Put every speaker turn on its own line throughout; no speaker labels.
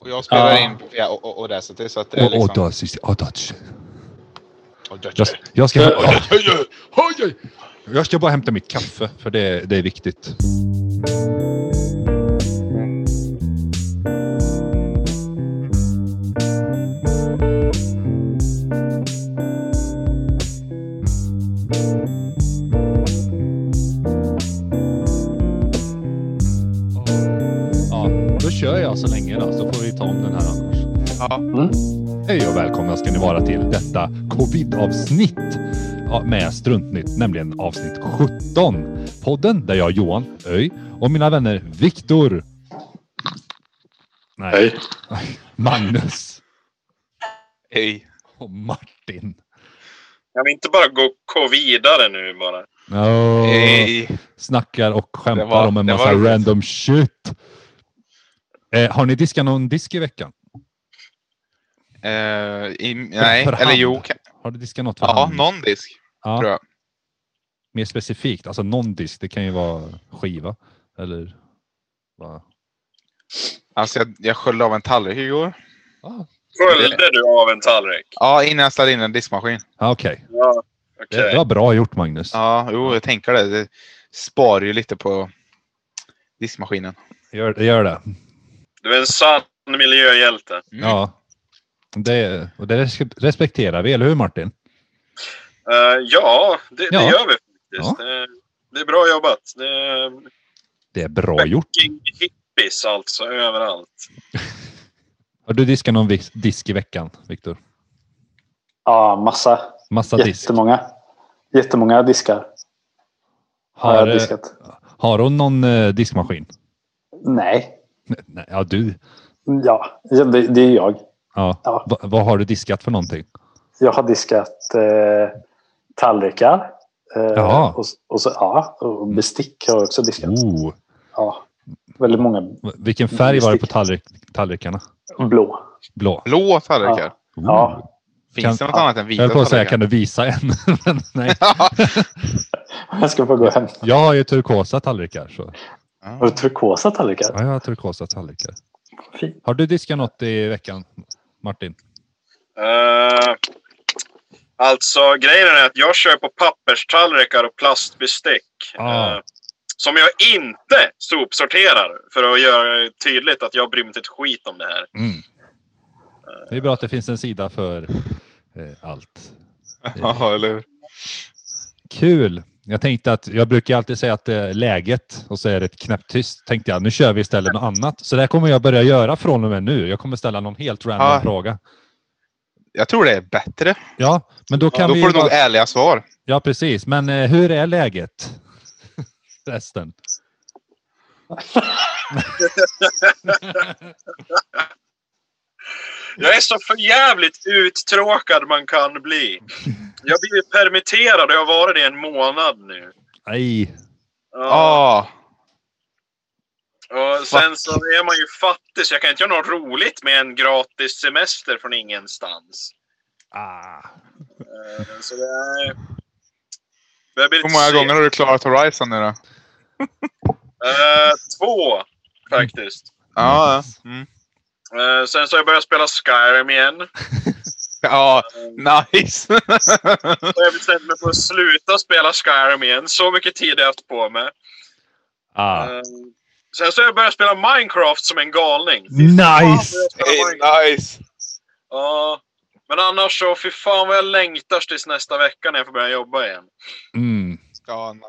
Och jag spelar
Ja.
in via O- O- Audacity så att det är
Och, och,
liksom...
touch, och touch. Jag,
Audacity.
jag, ska,
Ja.
jag ska bara hämta mitt kaffe, för det, det är viktigt. Ja, då kör jag så länge då, så får vi ta om den här annars. Mm.
Ja.
Hej och välkomna ska ni vara till detta covid-avsnitt med Struntnytt, nämligen avsnitt 17. Podden där jag, Johan Öj och mina vänner Viktor. Nej,
Hej.
Magnus
Hej.
och Martin.
Kan vi inte bara gå, gå vidare nu bara?
Oh,
Hej.
Snackar och skämtar
Det var-
om en
det
massa
var-
random shit. Eh, har ni diskat någon disk i veckan?
Eh, i, nej,
För
eller
hand.
jo. Kan,
Har du diskat något? för
ja,
hand?
någon disk.
Ja.
tror jag.
Mer specifikt, alltså någon disk. Det kan ju vara skiva eller vad?
Alltså jag, jag sköljde av en tallrik igår.
Ja,
Sköljde du av en tallrik?
Ja, innan jag ställde in en diskmaskin.
ah, okej.
Ja, okej.
Det, det var bra gjort Magnus.
Ja, jo, jag tänker det. Det sparar ju lite på diskmaskinen.
Gör, det gör det.
Du är en sann miljöhjälte.
Mm.
Ja. Det, och det res- respekterar vi, eller hur Martin?
Eh, ja, det,
Ja.
det gör vi faktiskt. Det, det är bra jobbat. Det är
Det är bra gjort.
fucking hippies alltså överallt.
Har du diskat någon vis- disk i veckan, Viktor?
Ja, massa.
Massa disk.
Jättemånga. Jättemånga diskar har
Har,
jag
eh,
diskat.
har hon någon eh, diskmaskin?
Nej.
Nej, ja, du.
Ja, det, det är jag.
Ja.
Ja.
Va, vad har du diskat för någonting?
Jag har diskat eh, tallrikar. Eh,
Jaha. Mm.
och, och, så, ja, och bestick har jag också diskat.
Oh,
Ja, väldigt många
vilken färg var det på
Disk.
tallrik, tallrikarna?
blå.
Mm. Blå.
Blå tallrikar.
Ja. Ja.
Finns
Kan-
det något annat än
Jag
vita
höll på att säga,
tallrikar?
kan du visa en? Men Nej.
Jag ska få gå hem.
Jag har ju turkosa tallrikar. Så.
Har
Ja.
du turkosa tallrikar?
Ja, jag har turkosa tallrikar.
Fint.
Har du diskat något i veckan, Martin?
Eh, alltså grejen är att jag kör på papperstallrikar och plastbestick.
Ah.
eh, som jag inte sopsorterar. För att göra det tydligt att jag bryr mig inte ett skit om det här.
Mm. Det är bra att det finns en sida för eh, allt.
ja, eller hur?
Kul! Jag tänkte att jag brukar alltid säga att det är läget och så är det knäpptyst. Tänkte jag, nu kör vi istället något annat. Så det här kommer jag börja göra från och med nu. Jag kommer ställa någon helt random
Ja.
fråga.
Jag tror det är bättre.
Ja, men då kan
Då
vi...
får du
bara-
nog ärliga svar.
Ja, precis. Men eh, hur är läget? Resten.
Jag är så förjävligt uttråkad man kan bli. Jag har blivit permitterad och jag har varit det i en månad nu.
Nej.
Ja,
Ja.
och sen så är man ju fattig så jag kan inte göra något roligt med en gratis semester från ingenstans.
Ah.
Eh, Så det är... Jag blir
Hur
lite
många
sen.
gånger har du klarat Horizon nu då?
Eh, två, faktiskt.
Ja,
Nice.
ja. Mm.
Eh, sen så har jag börjat spela Skyrim igen. Eh,
ja nice.
Så jag bestämde mig för att sluta spela Skyrim igen. Så mycket tid har jag haft på mig.
Ah.
Eh, Sen så har jag börjat spela Minecraft som en galning. Fy fan,
Nice!
vad jag spelar
Hey,
Minecraft.
nice.
Ja. Men annars så, fy fan vad jag längtar tills nästa vecka när jag får börja jobba igen.
Mm.
Ja, nice.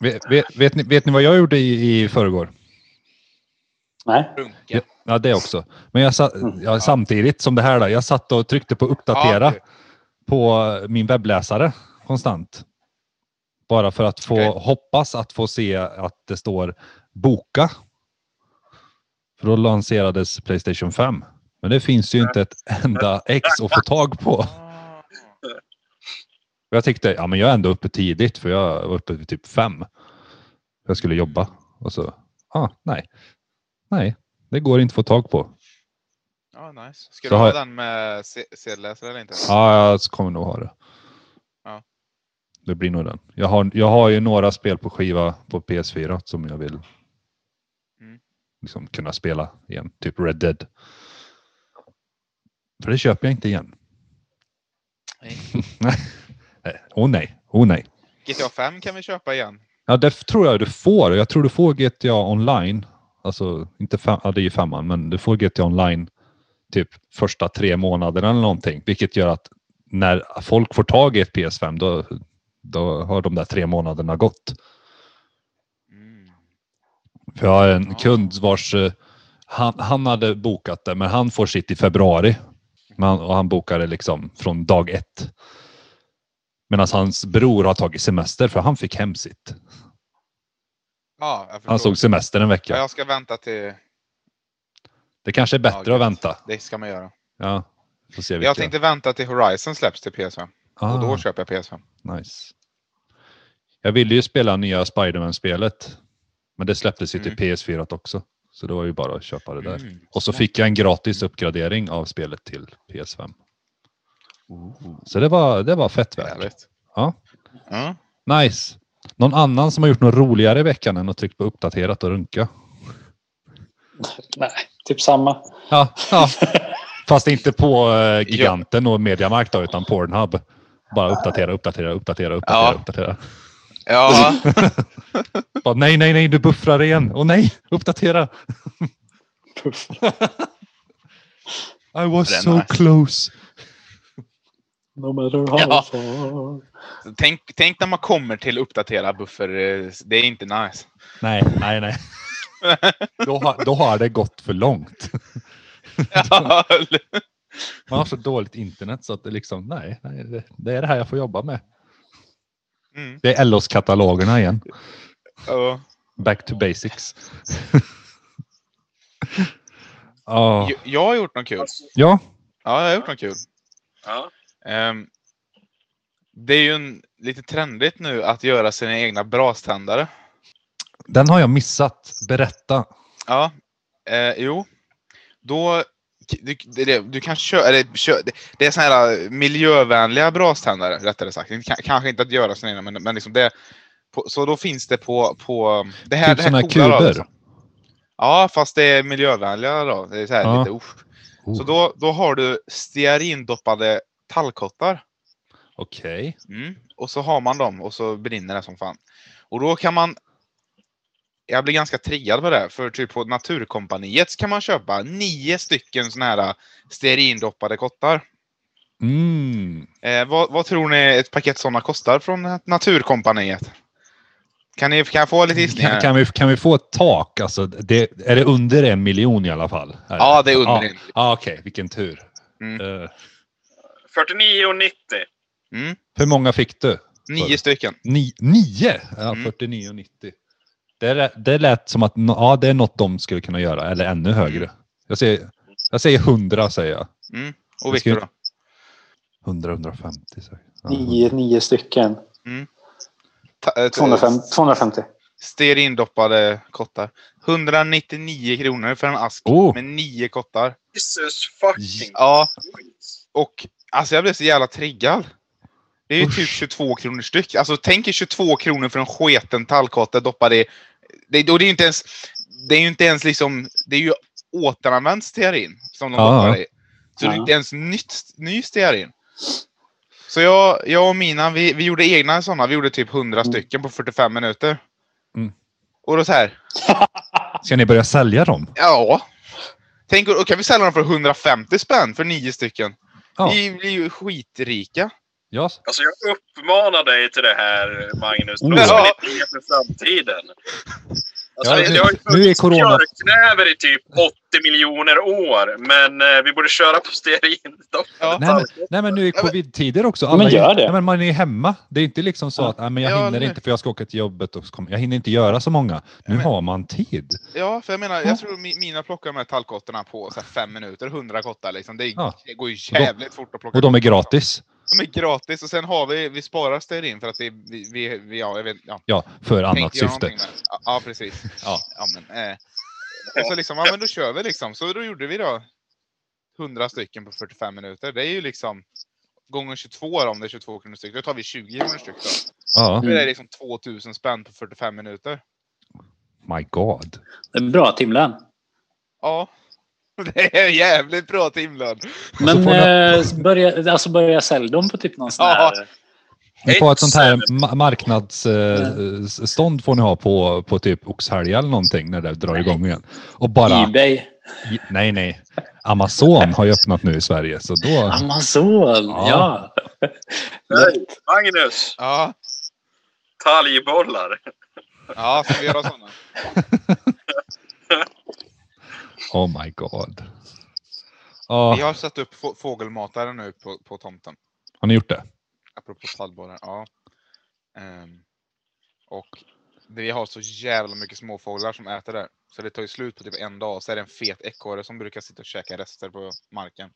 Vet, vet, vet, ni, vet ni vad jag gjorde i, i förrgår?
Nej.
Ja, ja, det också. Men jag sa,
Mm.
ja, samtidigt som det här, då, jag satt och tryckte på uppdatera
Ja, okej.
på min webbläsare konstant. Bara för att få
Okej.
hoppas att få se att det står boka. För då lanserades Playstation 5. Men det finns ju inte ett enda ex att få tag på.
Ah.
Och Jag tyckte, ja men jag är ändå uppe tidigt för jag var uppe vid typ fem. Jag skulle jobba och så, ah, nej. Nej, det går inte att få tag på.
Ja, nice. Ska
Så
du
har
ha
jag-
den med se- sedelläsare eller inte?
Ja, jag kommer nog ha det.
Ja.
Det blir nog den. Jag har, jag har ju några spel på skiva på PS4 som jag vill
Mm.
liksom kunna spela igen. Typ Red Dead. För det köper jag inte igen.
Nej.
Nej. Åh nej, åh nej.
GTA 5 kan vi köpa igen.
Ja, det f- tror jag du får. Jag tror du får GTA online. Alltså, inte fem, ja, det är ju femman, men du får GTA online typ första tre månaderna eller någonting. Vilket gör att när folk får tag i ett PS5 då, då har de där tre månaderna gått.
Mm.
För jag har en
Ja.
kund vars eh, han, han hade bokat det, men han får sitt i februari. Men han, och han bokade liksom från dag ett. Medan hans bror har tagit semester för han fick hem sitt.
Ja, jag förstår.
Han såg semester en
ja,
vecka.
jag ska vänta till...
Det kanske är bättre
Ja,
att
gött.
vänta.
Det ska man göra.
Ja, får se vilka.
Jag tänkte vänta till Horizon släpps till PS5.
ah,
Och då köper jag PS5.
nice. Jag ville ju spela nya Spiderman-spelet. Men det släpptes ju till
Mm.
PS4 också. Så det var ju bara att köpa det där.
Mm.
Och så fick jag en gratis uppgradering av spelet till PS5. Så det var, det var fett värt.
Härligt.
Ja.
Ja.
Nice. Någon annan som har gjort något roligare i veckan än att trycka på uppdaterat och runka?
Nej, typ samma.
Ja, ja. Fast inte på eh, Giganten och Mediamarkt då, utan Pornhub. Bara uppdatera, uppdatera, uppdatera, uppdatera,
Ja.
uppdatera.
ja.
Bara, nej, nej, nej, du buffrar igen. Åh nej, uppdatera.
Puff.
I was
Det är
so
nice.
close.
No matter how
Ja.
far.
Tänk, tänk när man kommer till uppdatera buffer. eh, Det är inte nice.
Nej, nej, nej. Då har, då har det gått för långt.
Ja, eller-
Man har så dåligt internet så att det liksom, nej, nej det, det är det här jag får jobba med.
mm.
Det är LOS-katalogerna igen.
ja.
Back to basics. Ja.
Jag- Jag har gjort något kul.
Ah, ja,
Ja, jag har gjort något kul.
Ja.
Ehm, det är ju en, lite trendigt nu att göra sina egna braständare.
den har jag missat. Berätta.
Ja, eh, jo. Då, du, det, det- du kan köra, eller, kö, det, det är såna här eh, miljövänliga braständare rättare sagt. Inte- ka- Kanske inte att göra sina egna, men, men liksom det. På, så då finns det på, på det här,
Typ
det här
sådana här
coola då,
kuber.
liksom. Ja, fast det är miljövänliga då. Det är så här
Ja.
lite, usch. Så
Oh,
då, då har du stearindoppade tallkottar.
Oh, Okej.
Mm. Och så har man dem och så brinner det som fan. Och då kan man... Jag blir ganska triad på det, här, för typ på Naturkompaniet kan man köpa nio stycken såna här äh, stearindoppade kottar.
Mm.
Eh, vad, vad tror ni ett paket sådana kostar från Naturkompaniet? Kan, ni, kan jag få lite gissningar?
Kan, kan, vi, kan vi få ett tak? Alltså, det, är det under en miljon i alla fall?
Ja, det är under en.
Ja, Okej, vilken tur.
Mm.
Eh,
49,90.
Mm.
hur många fick du?
Nio stycken.
Ni, nio? Ja,
Mm.
49,90. Det, lä- det lät som att nå- ja, det är något de skulle kunna göra, eller ännu
Mm.
högre. Jag säger, jag säger 100, säger jag.
Mm. Och
Jag ska-
Victor då?
100, 150 säger jag. Ja,
Nio, nio stycken.
Ta- eh,
250. 250.
Stearindoppade kottar. 199 kronor för en ask
Oh.
med nio kottar.
Jesus fucking
Ja,
Christ.
Och alltså jag blev så jävla triggad. Det är ju
Usch.
typ 22 kronor styck. Alltså tänk er 22 kronor för en sketen tallkotte doppad i... Det, och det är ju inte ens... Det är ju inte ens liksom... Det är ju återanvänd stearin som de
Ja.
doppar i. Så det är
Ja.
inte ens nytt, ny stearin. Så jag, jag och Mina, vi, vi gjorde egna sådana. Vi gjorde typ 100 stycken på 45 minuter.
Mm.
Och då så här,
Ska ni börja sälja dem?
ja. Tänk, och kan vi sälja dem för 150 spänn för nio stycken?
Ja.
Vi blir ju skitrika.
Ja.
Alltså jag uppmanar dig till det här Magnus.
Oh.
Dra som en idé för framtiden. Alltså,
Ja,
det,
nu-
det har ju
nu är
funnits
corona-
björknäver i typ 80 miljoner år. Men eh, vi borde köra på stearin.
Ja.
Nej, men, nej, men nu är covid-tider också.
Men gör det.
Nej, men man är hemma. Det är inte liksom så
Ja.
att nej, men jag
Ja,
hinner
eller hur?
inte för jag ska åka till jobbet. Och så kommer- jag hinner inte göra så många. Nu
men-
har man tid.
Ja, för jag menar,
Ja.
jag tror mi- mina plockar de här tallkottarna på så här fem minuter, hundra kottar liksom. Det,
Ja.
det går ju jävligt fort att plocka.
Och de är
kottar.
gratis.
De är gratis och sen har vi, vi sparar stearin för att vi, vi, vi, vi ja, jag vet, ja.
Ja, för annat
tänkte göra
syfte.
någonting med- Ja, ja, precis.
Ja.
Ja, men, eh. Och så liksom, ja men då kör vi liksom. Så då gjorde vi då 100 stycken på 45 minuter. Det är ju liksom gånger 22 då, om det är 22 kronor styck. Då tar vi 20 kronor styck då.
Ja,
Då är det liksom 2000 spänn på 45 minuter.
my god.
Det är bra timlön.
Ja. Det är jävligt bra timlön.
Men
Alltså, får
eh, börja, alltså börja sälja dem på typ någon sån
Ja.
här...
Ni får ett sånt här
Excellent.
ma- marknadsstånd får ni ha på, på typ Oxhälja eller någonting när det drar igång igen. Och bara,
Ebay.
nej nej, Amazon har ju öppnat nu i Sverige så då,
Amazon,
Ja.
ja.
Nej, Magnus,
Ja,
talgbollar.
ja ska vi göra sådana?
oh my god. Ja,
Vi har satt upp få- fågelmatare nu på, på tomten.
har ni gjort det?
Apropå tallborrar. Ja. Ehm, och det- vi har så jävla mycket småfåglar som äter där. Så det tar ju slut på typ en dag. Så är det en fet ekorre som brukar sitta och käka rester på marken.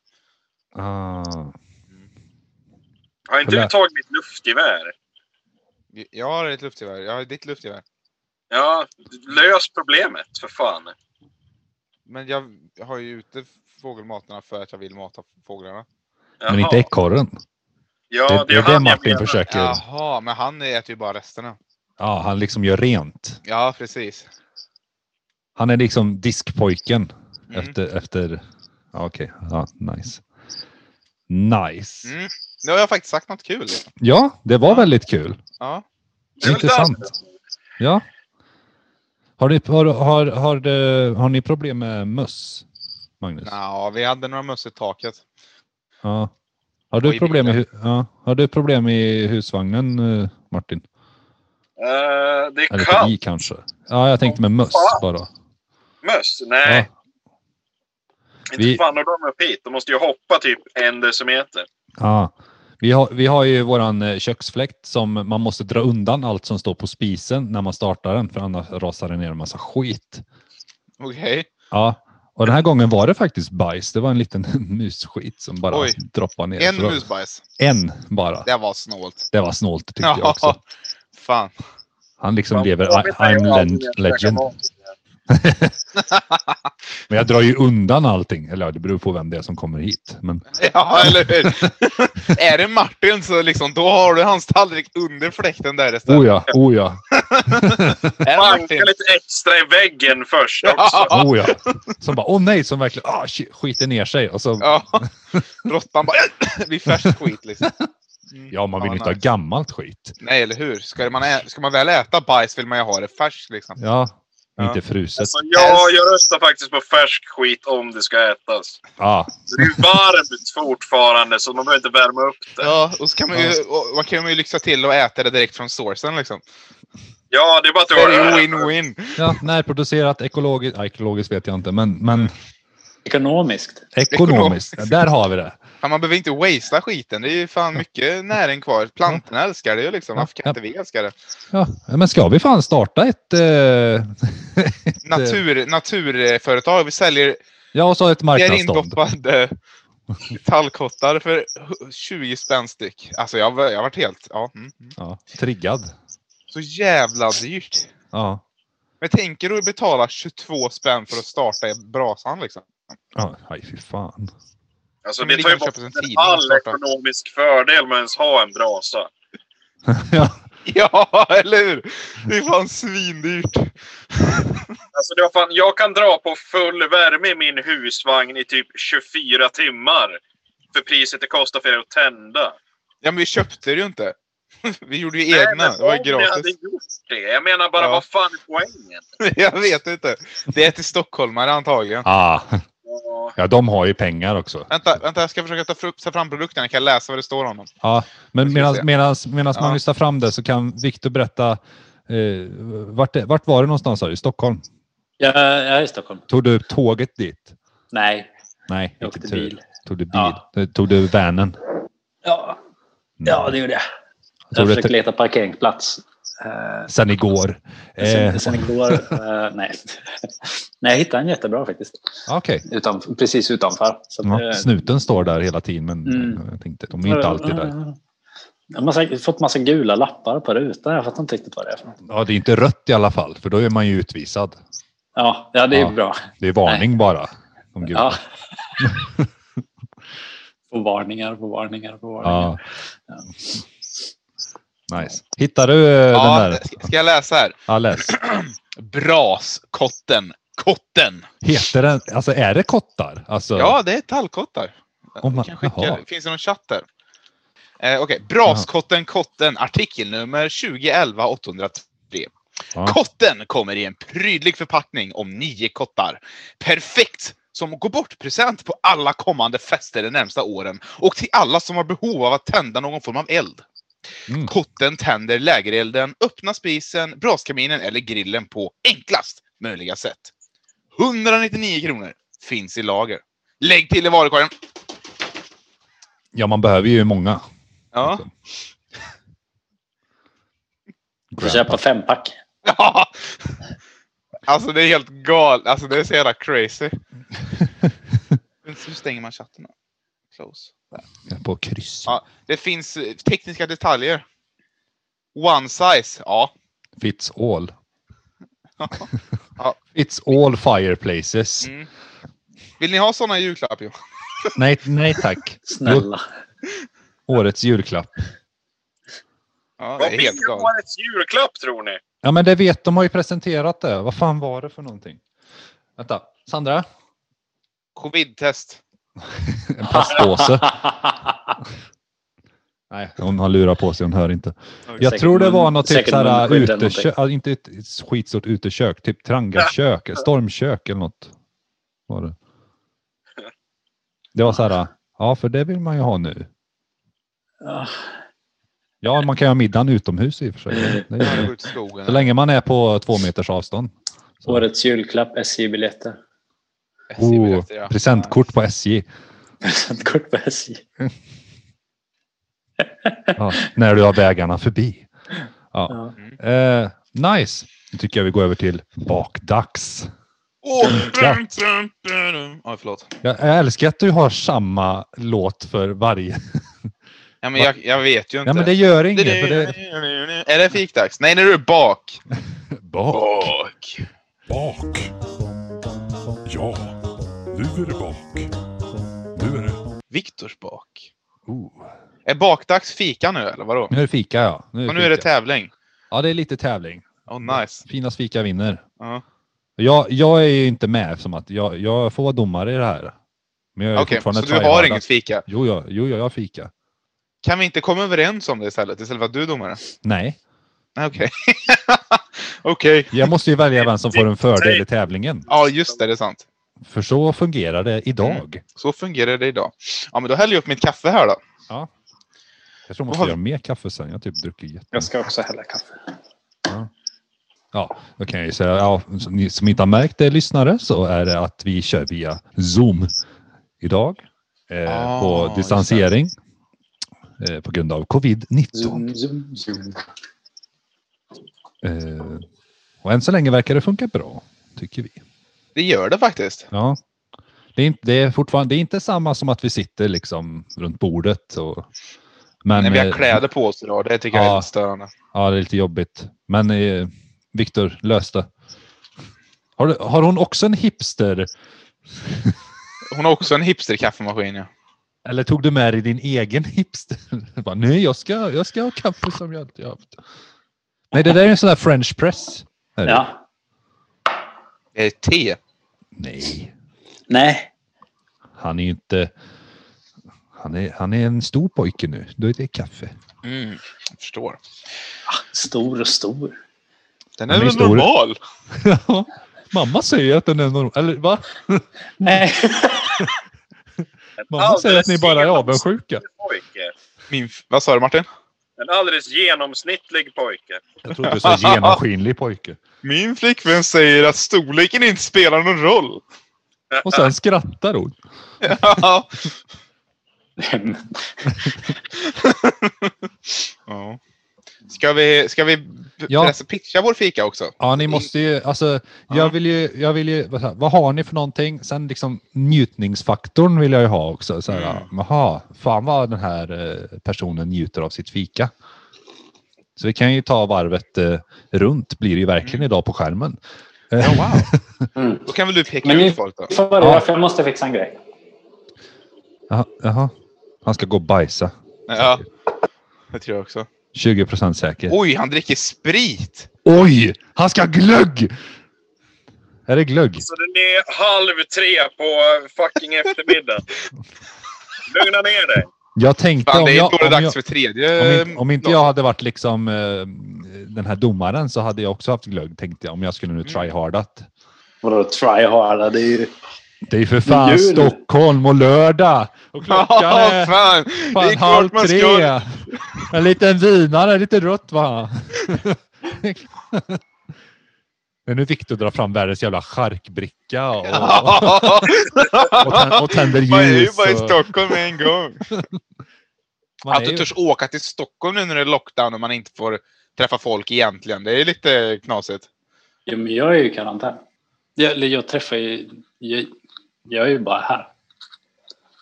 Ah.
Har inte
Kolla.
du tagit mitt luftgevär?
Jag har ett luftgevär. Jag har ditt luftgevär.
Ja, lös problemet för fan.
Men jag har ju ute fågelmatarna för att jag vill mata fåglarna.
Jaha.
Men inte ekorren.
Ja,
Det, det är
han
det
jag
Martin
menar.
försöker. Ja.
Jaha, men han äter ju bara resterna.
han liksom gör rent.
Ja, precis.
Han är liksom diskpojken
Mm.
efter, efter, ja okej, ja nice. Nice.
Mm. Nu har jag faktiskt sagt något kul. Liksom.
Ja, det var väldigt kul.
Ja.
Det är väl
Intressant.
dans.
Ja. Har ni, har, har, har, det, har ni problem med möss, Magnus?
Nå, vi hade några möss i taket.
Ja. Har,
Och
du
i
problem i, hu- ja. har du problem i husvagnen, eh, Martin?
Eh, det är
Eller
kallt.
i kanske? Ja, jag tänkte med möss bara.
Möss?
Ja.
Nej, inte
vi-
fan har de upp hit. De måste ju hoppa typ en decimeter.
Ja. Vi, har, vi har ju våran eh, köksfläkt som man måste dra undan allt som står på spisen när man startar den, för annars rasar det ner en massa skit.
Okej.
Ja. Och den här gången var det faktiskt bajs. Det var en liten musskit som bara
Oj.
droppade ner.
En
Så det var-
musbajs.
En bara.
Det var snålt.
Det var snålt tyckte jag också.
Fan.
Han liksom
De
lever
kommer
I,
inte
I'm
ihåg
len-
att jag
legend.
käkar mat.
Men jag drar ju undan allting. Eller ja, det beror på vem det är som kommer hit. Men
Ja, eller hur? är det Martin så liksom, då har du hans tallrik under fläkten där istället.
oh ja, oh ja,
Är det
Banka
Martin?
lite extra i väggen först också.
oh ja. Som bara, åh nej, som verkligen ah, shit, skiter ner sig. Och så,
Ja. Råttan bara, det blir färsk skit liksom. Mm.
ja, man vill ju inte ha
nice.
gammalt skit.
Nej, eller hur? Ska man, ä- ska man väl äta bajs vill man ju ha det färskt liksom.
Ja,
Ja.
inte fruset.
Alltså, ja, jag röstar faktiskt på färsk skit om det ska ätas.
Ja,
Det är ju varmt fortfarande så man behöver inte värma upp det.
Ja, och så kan man ju, och, och kan man ju lyxa till och äta det direkt från sourcen liksom.
Ja, det är bara att
Det
du
är ju win-win.
ja närproducerat, ekologiskt. Ja, ekologiskt vet jag inte, men, men
Ekonomiskt.
ekonomiskt. Där har vi det.
Fan, Man behöver inte wastea skiten. Det är ju fan mycket näring kvar. Plantorna älskar det ju liksom. Varför kan inte vi älska det?
Ja, men ska vi fan starta ett... Eh,
Natur, naturföretag. Vi säljer
jag har så ett
Vi är
marknadsstånd.
indoppade tallkottar för 20 spänn styck. Alltså jag, var- jag har varit helt... Ja. Mm. mm.
Ja, triggad.
Så jävla dyrt.
Ja.
Men tänker du betala 22 spänn för att starta i brasan liksom?
Ja, aj, fy fan.
Alltså,
Men
det
det
tar ju
kan köpas en
bort
tidning och
all
starta.
ekonomisk fördel med att ens ha en brasa.
ja,
Ja, eller hur? Det är fan svindyrt.
Alltså, det var fan, jag kan dra på full värme i min husvagn i typ 24 timmar. För priset det kostar för er att tända.
Ja, men vi köpte det ju inte. Vi gjorde ju
Nej,
egna.
men
Det var
om
ju
ni hade
gratis.
gjort det. Jag menar bara,
Ja.
vad fan är poängen?
Jag vet inte. Det är till stockholmare antagligen.
ah,
Ja,
ja, de har ju pengar också.
Vänta, vänta, jag ska försöka ta fr- ta fram produkten. Jag kan läsa vad det står om dem.
Ja, men
Nu ska vi
medan
se.
medans, medans
Ja.
man lyssnar fram det så kan Viktor berätta. Eh, vart, det- vart var det någonstans? sa du? I Stockholm?
Jag, jag är i Stockholm.
Tog du tåget dit?
Nej,
Nej,
jag
inte
åkte
tur.
bil.
Tog du bil?
Ja.
Eh, Tog du vanen?
Ja, ja, det gjorde jag.
Tror du
Jag försökte
att-
leta parkeringsplats. Eh,
Sen igår. Eh,
sen, sen igår. eh, nej. nej, jag hittade en jättebra faktiskt.
ah, Okej.
Utan, precis utanför. Så att eh,
Ja,
det-
snuten står där hela tiden, men
Mm.
jag tänkte, de är ju inte alltid där.
Jag har massa, fått massa gula lappar på rutan. Jag fattar inte riktigt vad det är för något.
Ja, det är inte rött i alla fall, för då är man ju utvisad.
Ja, ja det är
Ja.
bra.
Det är varning bara. De gula.
Ja. på varningar, på varningar, på varningar.
Ja. Nice. Hittar du eh, den
Ja,
där?
ska jag läsa här?
Ja, läs.
Braskotten Kotten!
Heter den, alltså är det kottar? Alltså,
Ja, det är tallkottar.
Om man-
Vi kan skicka,
jaha.
det. finns det någon chatt där? Eh, Okej, Braskotten Kotten, artikelnummer 2011 803.
Ja.
Kotten kommer i en prydlig förpackning om nio kottar. Perfekt som gå bort-present på alla kommande fester de närmsta åren och till alla som har behov av att tända någon form av eld.
Mm.
Kotten tänder lägerelden, öppnar spisen, braskaminen eller grillen på enklast möjliga sätt. 199 kronor finns i lager. Lägg till i varukorgen.
ja, man behöver ju många.
Ja.
Liksom.
Du köper fempack.
ja. Alltså det är helt galet. Alltså det är så jävla crazy. Hur stänger man chatten då? Close.
På kryss.
Ja. Det finns eh, tekniska detaljer. One size. Ja.
Fits all.
Ja.
Fits all fireplaces.
Mm. Vill ni ha sådana julklapp? Johan?
Nej, nej tack.
Snälla.
Årets julklapp.
Ja, det
Vad
är
blir
helt galet.
årets julklapp tror ni?
Ja, men det vet de har ju presenterat det. Vad fan var det för någonting? Vänta, Sandra?
Covid-test.
En plastpåse. Nej, hon har lurat på sig, hon hör inte. Jag
Säkert
tror det var
mun-
något typ
säkert
såhär
munskydd eller
utekök,
någonting.
ja, inte ett skitstort utekök, typ trangarkök, stormkök eller något. Var det. det var såhär, ja för det vill man ju ha nu.
Ja.
Ja, man kan ju ha middagen utomhus i och för sig. Det, det
När
gör
det går
det.
ut i skogen.
Så länge man är på två meters avstånd. Så.
Årets julklapp, SJ-biljetter.
Oh,
SJ-biljetter, ja.
presentkort på SJ.
Presentkort på SJ.
Ja, när du har vägarna förbi.
Ja.
Eh, nice. Nu tycker jag vi går över till bakdags.
Åh!
Ja.
dun, dun, dun, dun. Oj, förlåt.
Jag, jag älskar att du har samma låt för varje.
Ja, men jag, jag vet ju inte.
Ja, men det gör inget. För det...
Är det fikdags? Nej, när du är bak.
Bak.
Bak.
Bak. Ja, nu är det bak. Nu är det
Viktors bak.
Oh.
Är bakdags fika nu eller vadå?
Nu är det fika, ja.
Och nu är det
fika.
tävling.
Ja, det är lite tävling.
Oh, nice.
Finast fika vinner.
Ja.
Jag, jag är ju inte med eftersom att jag, jag får vara domare i det här. Men jag är
Okej,
fortfarande
så du har
tryhardad.
inget fika?
Jo, jag, jo, jag har fika.
Kan vi inte komma överens om det istället? Istället för att du är domare?
Nej,
Nej, Okej. Okej.
jag måste ju välja vem som får en fördel i tävlingen.
Ja, just det. Det är sant.
För så fungerar det idag.
Så fungerar det idag. Ja, men då häller jag upp mitt kaffe här då.
Jag tror
Vad
man måste
har vi-
göra mer kaffe sen. Jag har typ druckit
Jag
jättemycket.
ska också hälla kaffe.
Ja, då kan jag ju säga, ja, som ni som inte har märkt det lyssnare så är det att vi kör via Zoom idag eh,
Ah,
på
just
distansering eh, på grund av covid-19.
Zoom, zoom, zoom.
Eh, och än så länge verkar det funka bra, tycker vi.
Det gör det faktiskt.
Ja. Det är, inte, det, är fortfarande, det är inte samma som att vi sitter liksom runt bordet. Och, men,
När vi har
eh,
kläder på oss idag. Det tycker jag är
Ja.
lite störande.
Ja, det är lite jobbigt. Men eh, Viktor, lös det. Har, du- har hon också en hipster?
Hon har också en hipster-kaffemaskin. Ja.
Eller tog du med dig din egen hipster? Bara, Nej, jag ska, jag ska ha kaffe som jag alltid har haft. Nej, det där är en sån där French press. Är det?
Ja.
Det är te.
Nej,
Nej.
han är ju inte... Han är, han är en stor pojke nu. Då är det kaffe.
Mm. Jag förstår.
Stor och stor.
Den
är
är väl
stor.
normal?
Ja, Mamma säger att den är normal. Eller va?
Nej.
Mamma säger att ni bara är
Alldeles
avundsjuka.
genomsnittlig pojke.
Min, f- vad sa du Martin?
En alldeles genomsnittlig pojke.
Jag trodde du sa genomskinlig pojke.
Min flickvän säger att storleken inte spelar någon roll.
Och sen skrattar hon.
ja.
Mm.
Ska vi, ska vi p-
Ja.
pressa, pitcha vår fika också?
Ja, ni måste ju, alltså, jag
Ja.
vill ju, jag vill ju, vad så här, vad har ni för någonting? Sen liksom njutningsfaktorn vill jag ju ha också. Så här,
Mm.
Jaha, fan vad den här eh, personen njuter av sitt fika. Så vi kan ju ta varvet eh, runt, blir det ju verkligen
Mm.
idag på skärmen.
Ja, wow.
Mm.
Då kan väl du peka
Men ni-
ut folk då?
Får
Ja.
börja, för jag måste fixa en grej.
Jaha, jaha. han ska gå och bajsa.
Ja. Det tror jag också.
20 procent säker.
Oj, han dricker sprit!
Oj, han ska ha glögg! Här är glögg.
Så den är halv tre på fucking eftermiddag. Lugna ner dig.
Jag tänkte
Fan,
om
det är då
jag,
det är
om, jag,
dags för tredje.
om, inte, om inte jag hade varit liksom eh, den här domaren så hade jag också haft glögg tänkte jag om jag skulle nu
Mm.
tryhardat.
Vadå try hard? Det är ju...
Det är ju för fan
Jul.
Stockholm och lördag! Och klockan
Ja,
är fan,
fan. Det är
halv
klart man ska.
tre! En liten vinare, lite rött va? Men nu är Viktor drar fram världens jävla charkbricka och, och, tänd, och tänder ljus.
Man är ju bara i
och-
Stockholm med en gång.
man
Att
är
du
ju-
törs åka till Stockholm nu när det är lockdown och man inte får träffa folk egentligen. Det är lite knasigt.
Jo, men jag är ju i karantän. Jag, eller jag träffar ju... Jag, jag är ju bara här.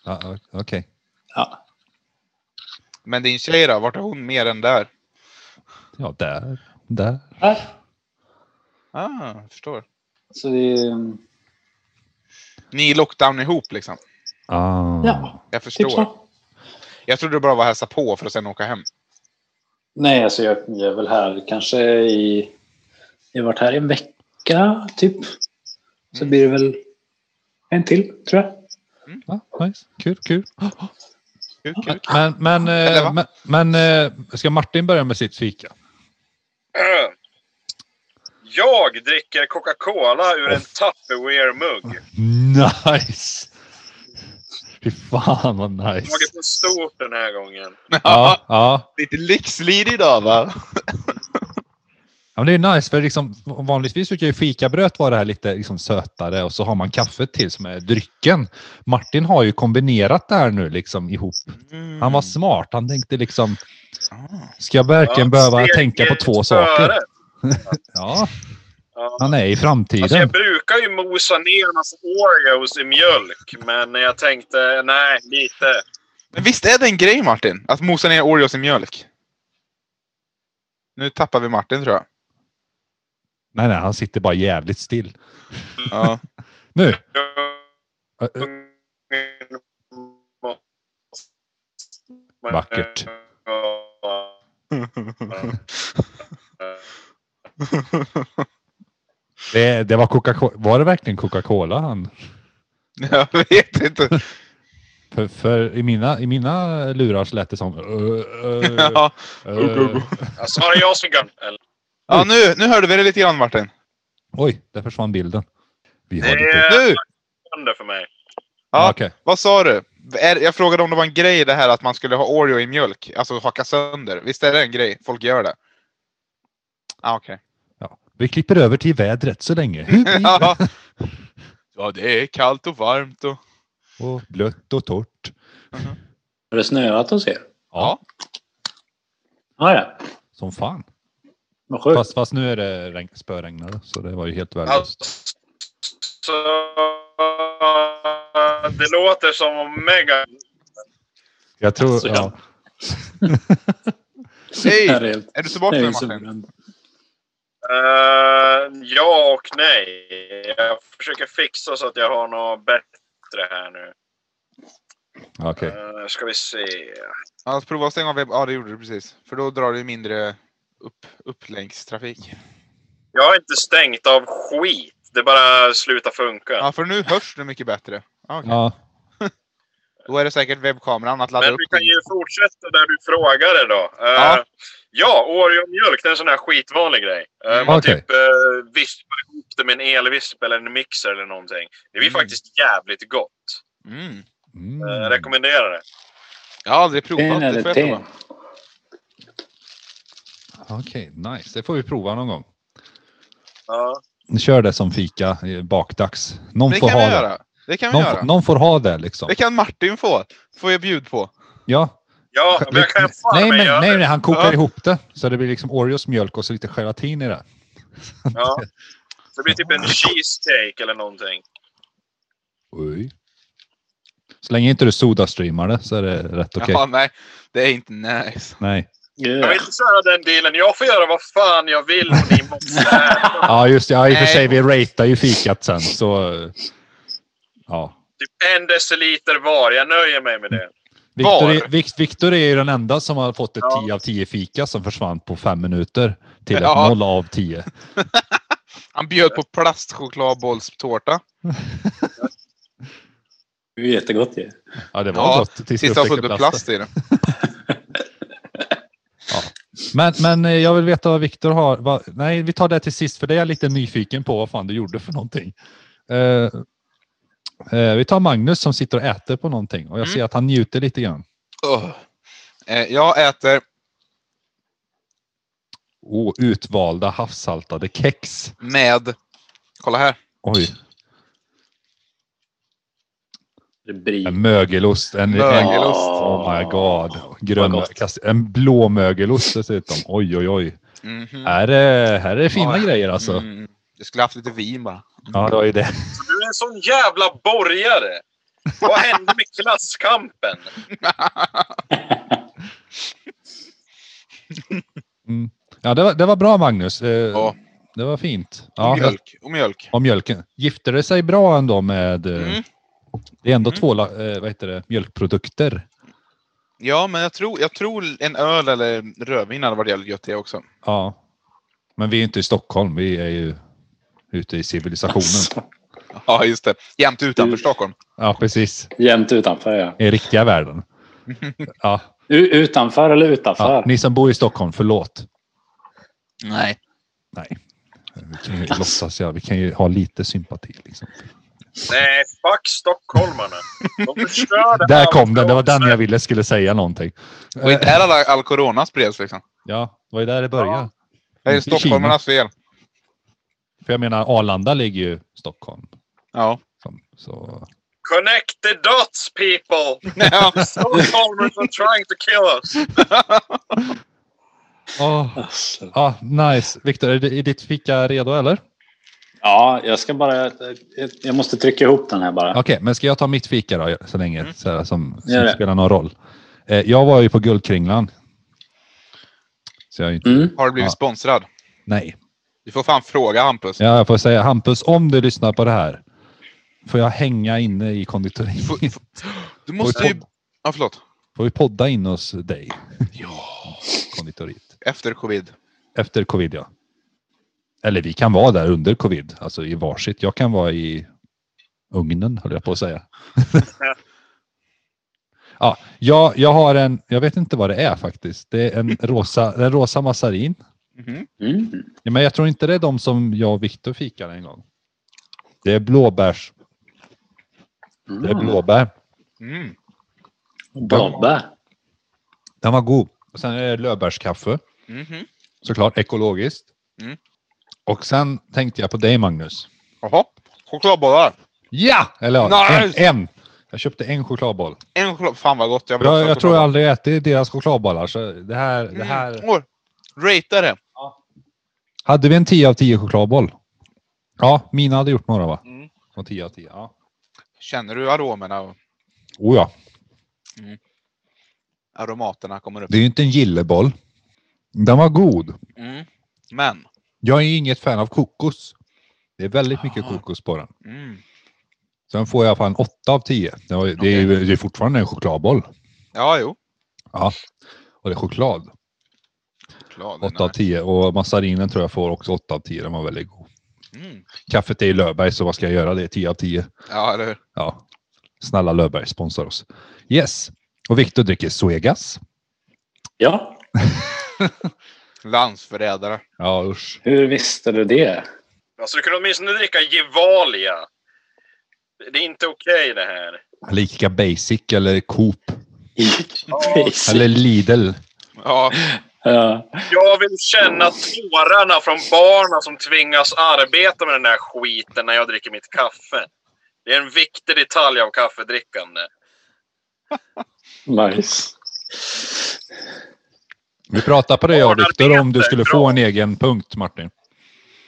Ja, ja, Okej.
Ja.
Men din tjej då? Vart är hon mer än där?
Ja, där. Där.
här.
Ah, jag förstår.
Så det är...
Ni är i lockdown ihop liksom.
Ah.
Ja,
Jag
typ
förstår.
så.
Jag trodde du bara var och hälsa på för att sen åka hem.
Nej, alltså jag, jag är väl här kanske i... Jag har varit här i en vecka, typ. Så blir det väl en till, tror jag.
Ja, nice. Kul, kul.
Kul, kul.
Men, men, eh,
Eller va?
men, men eh, ska Martin börja med sitt fika?
Jag dricker Coca-Cola ur en Tupperware-mugg.
Nice! Fy fan vad nice.
Tagit på stort den här gången.
Ja, ja.
Lite lyxlid idag va?
ja men det är nice för liksom, vanligtvis brukar ju fikabröd vara det här lite liksom, sötare och så har man kaffet till som är drycken. Martin har ju kombinerat det här nu liksom ihop. Han
Mm.
var smart. Han tänkte liksom, ska jag verkligen behöva
steget
tänka på två
före.
saker? Ja,
Ja.
han är i
Alltså
framtiden.
jag brukar ju mosa ner massa Oreos i mjölk, men jag tänkte nej, lite.
Men visst är det en grej Martin? Att mosa ner Oreos i mjölk? Nu tappar vi Martin tror jag.
Nej, nej, han sitter bara jävligt still.
Ja.
Nu! Vackert. Det, det var Coca-Cola. Var det verkligen Coca-Cola han?
jag vet inte.
För, för i, mina, i mina lurar så lät det som... "Ö, ö,
Ja,
ö."
Alltså var det jag som gav den?
ja nu, nu hörde vi det lite grann Martin.
Oj, där försvann bilden. Vi har
Det-
lite...
Nu!
Eller för mig?
Ja,
Ja,
okej.
vad sa du? Är, jag frågade om det var en grej det här att man skulle ha Oreo i mjölk. Alltså hacka sönder. Visst är det en grej? Folk gör det. Ah, okej.
ja. Vi klipper över till vädret så länge.
ja. ja, det är kallt och varmt och...
och blött och torrt.
Har det snöat hos er?
Ja,
Ja, ja.
som fan.
Vad sjukt.
Fast, fast nu är det regn, spöregnare så det var ju helt värdelöst.
Alltså, det låter som om mega...
Jag tror...
alltså,
ja.
jag-
Hej!
Det här helt-
Är du tillbaka
det är
nu
ju
Martin?
suveränt.
Eh, ja och nej. Jag försöker fixa så att jag har något bättre här nu.
Okej.
Eh, ska vi se.
Ja, alltså, prova att stänga av webb. Ja, det gjorde du precis. För då drar du mindre upp, upplänkstrafik.
Jag har inte stängt av skit. Det bara slutar funka.
Ja, för nu hörs du mycket bättre. Ja, okej. Eh,
Ja.
Då är det säkert webbkameran att ladda
Men
upp.
vi kan ju fortsätta där du frågade då. Eh,
Ja.
ja, Oreo-mjölk, det är en sån här skitvanlig grej. Eh,
Mm.
man
Okej.
typ eh, vispar ihop det med en elvisp eller en mixer eller någonting. Det blir
Mm.
faktiskt jävligt gott.
Mm.
Mm.
Eh, rekommenderar det.
Jag har aldrig provat.
Ten
Det
eller
får jag
ten.
prova.
Okej, nice. Det får vi prova någon gång.
Ja.
Kör det som fika eh, bakdags. Någon
Det
får
kan
ha
vi
det.
göra. Det kan vi
Någon, får-
göra.
någon får ha det liksom.
Det kan Martin få. får jag bjud på.
Ja.
Ja, men jag kan fan
nej,
med
men,
göra
nej,
det.
nej, han kokar
Ja.
ihop det. Så det blir liksom Oreos mjölk och så lite gelatin i det.
Ja. Det blir typ en cheesecake eller någonting.
Oj. Så länge inte du sodastreamar det så är det rätt okej.
Ja, nej. Det är inte nice.
Nej.
Jag
Yeah.
vill inte köra den dealen. Jag får göra vad fan jag vill och ni måste äta.
Ja, just det. Ja, i och för
Nej.
sig. Vi ratear ju fikat sen. Så... eh, Ja.
Typ en deciliter var. Jag nöjer mig med det.
Victor
Var?
är, Vic- Victor är ju den enda som har fått ett
Ja.
10 av 10 fika som försvann på fem minuter till ett
Ja.
0 av 10.
Han bjöd på plastchokladbollstårta.
Det är ju jättegott ju.
Ja, det var
Ja,
gott. Tills
Tills
jag
han
upptäckte
såg
plasten.
plast i den.
Men, men eh, jag vill veta vad Viktor har. Vad, nej, vi tar det till sist för det är jag lite nyfiken på vad fan du gjorde för någonting. Eh, eh, vi tar Magnus som sitter och äter på någonting och jag
Mm.
ser att han njuter lite grann.
Ugh. Eh, Jag äter...
Oh, utvalda havssaltade kex.
med... Kolla här.
Oj,
Det är brie.
en mögelost. En, en,
Mögelost.
oh my god. Grön,
Vad gott.
kast, en blå mögelost dessutom. Oj, oj, oj.
Mhm.
Här är, här är fina
Ja.
grejer alltså.
Mm. Jag skulle haft lite vin bara.
Ja, det var ju det.
Du är en sån jävla borgare! Vad hände med klasskampen?
Ja, det var, det var bra Magnus. Eh,
Ja.
Det var fint.
Och
Ja,
mjölk. Och mjölk.
Och mjölken. Gifter det sig bra ändå med... eh,
Mm.
Det är ändå
Mm.
två la- eh, vad heter det, mjölkprodukter.
Ja, men jag tror, jag tror en öl eller rödvin hade varit jävligt gött det också.
Ja. Men vi är inte i Stockholm, vi är ju ute i civilisationen.
Alltså,
Ja, just det. Jämt utanför Stockholm.
Ja, precis.
jämt utanför ja.
I riktiga världen. Ja,
U- utanför eller
ja.
utanför?
Ni som bor i Stockholm, förlåt.
Nej.
Nej. Vi kan ju låtsas, ja. Vi kan ju ha lite sympati. Liksom.
Nej, fuck stockholmarna. De förstörde
Där
allt
kom den, det var den
för
jag ville skulle säga någonting.
Och inte är alla all corona spreds liksom.
Ja, det var ju där det började.
Det är
I Kina.
stockholmarnas fel.
För jag menar, Arlanda ligger ju i Stockholm.
Ja.
Som- Så.
Connect the dots people!
ja.
Stockholmers are trying to kill us!
Åh.
Alltså.
Ja, nice. Viktor, är di- är ditt fika redo eller?
Ja, jag ska bara... Jag måste trycka ihop den här bara.
Okej, men ska jag ta mitt fika då så länge
Mm.
så här, som,
Gör
som
det.
spelar någon roll? Eh, jag var ju på Guldkringlan. Så jag är ju inte...
Mm.
Har du blivit
Ja.
sponsrad?
Nej.
Du får fan fråga Hampus.
Ja, jag får säga Hampus, om du lyssnar på det här. Får jag hänga inne i
Får-
konditoriet?
Du måste ju... Ja, förlåt.
Får vi podda in hos dig,
Ja.
konditoriet?
Efter covid.
Efter covid, ja. Eller vi kan vara där under covid, alltså i varsitt. Jag kan vara i ugnen, höll jag på att säga. ja, jag, jag har en, jag vet inte vad det är faktiskt. Det är en rosa, en rosa massarin.
Mhm.
Mm.
Ja, men jag tror inte det är de som jag och Viktor fikade en gång. Det är blåbärs, det är
Mm.
blåbär.
Mm.
Blåbär.
Den var god. Och sen är det lövbärskaffe.
Mhm.
såklart ekologiskt.
Mm.
Och sen tänkte jag på dig Magnus.
Jaha. Chokladbollar.
Ja! Eller ja,
Nice!
en, en. Jag köpte en chokladboll.
En choklad. Fan vad gott. Jag, vill också
Jag,
ha
jag tror jag
chokladbollar.
aldrig ätit deras chokladbollar. Så det här, det
Mm.
här...
Åh, Ratea det.
Hade vi en 10 av 10 chokladboll? Ja, mina hade gjort några va?
Mm.
Och 10 av 10. Ja.
Känner du aromerna? och
Oh ja.
Aromaterna kommer upp.
Det är ju inte en gilleboll. Den var god.
Mm. Men.
Jag är ju inget fan av kokos. Det är väldigt mycket
Ah.
kokos på den.
Mm.
Sen får jag fan 8 av 10. Det, var, det, är, ju- det är fortfarande en chokladboll.
Ja, jo.
Och det är choklad.
Choklad.
8 av 10 och massarinen tror jag får också 8 av 10. Den var väldigt god.
Mm.
Kaffet är i Löfberg så vad ska jag göra? Det är 10 av 10.
Ja, eller hur?
Ja. Snälla Löfberg, sponsra oss. Yes. Och Viktor dricker Suegas.
Ja,
Landsförrädare.
Ja usch.
hur visste du det?
Alltså, du kunde åtminstone dricka Gevalia. Det är inte okej det här.
Lika basic eller Coop.
Basic.
Eller Lidl.
Ja,
Ja.
Jag vill känna tårarna från barnen som tvingas arbeta med den där skiten när jag dricker mitt kaffe. Det är en viktig detalj av kaffedrickande.
Nice.
Vi pratar på det jag och Viktor om du
Barnarbete,
skulle
bra.
få en egen punkt Martin.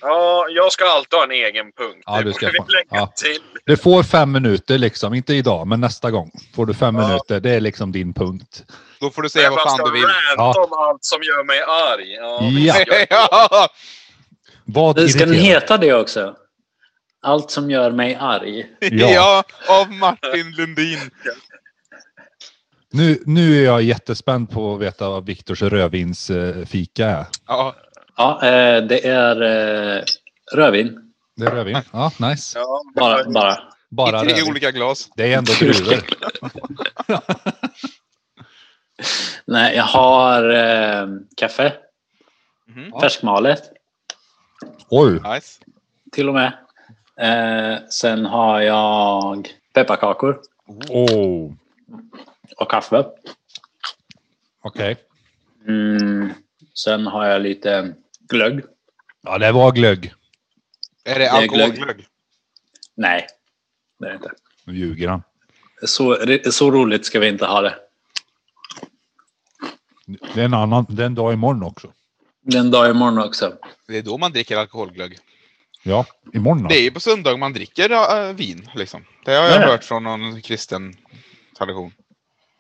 Ja, jag ska alltid ha en egen punkt.
Ja,
det
du ska
borde
fan-
vi lägga
ja.
till.
Du får fem minuter liksom. Inte idag men nästa gång. Får du fem
Ja.
minuter. Det är liksom din punkt.
då får du säga vad fan du vill.
Jag bara ska ranta om allt som gör mig arg. Ja,
Ja.
visst, jag-
Ja.
Vad
Ska den
irriterar-
heta det också? Allt som gör mig arg.
Ja.
ja, av Martin Lundin.
Nu, nu är jag jättespänd på att veta vad Viktors rödvinsfika är.
Ja.
Ja, eh, det är eh, Rödvin.
Det är rödvin. Ja, nice.
Ja,
Bara. bara.
Bara
I tre
rödvin.
olika glas.
Det är ändå druvor.
Nej, jag har eh, kaffe.
Mhm.
Färskmalet
Oj,
Nice.
till och med. Eh, sen har jag pepparkakor
oh.
och kaffe.
okej.
Mm. Sen har jag lite glögg.
Ja, det var glögg.
Är det
är glögg.
alkoholglögg?
Nej, det är det inte.
Nu ljuger han.
Så, så roligt ska vi inte ha det.
Det är en annan, det är en dag imorgon också.
Det är en dag imorgon också.
Det är då man dricker alkoholglögg.
Ja, imorgon
Det
alltså.
är ju på söndag man dricker äh, vin. Liksom. Det har jag
Nej.
hört från någon kristen tradition.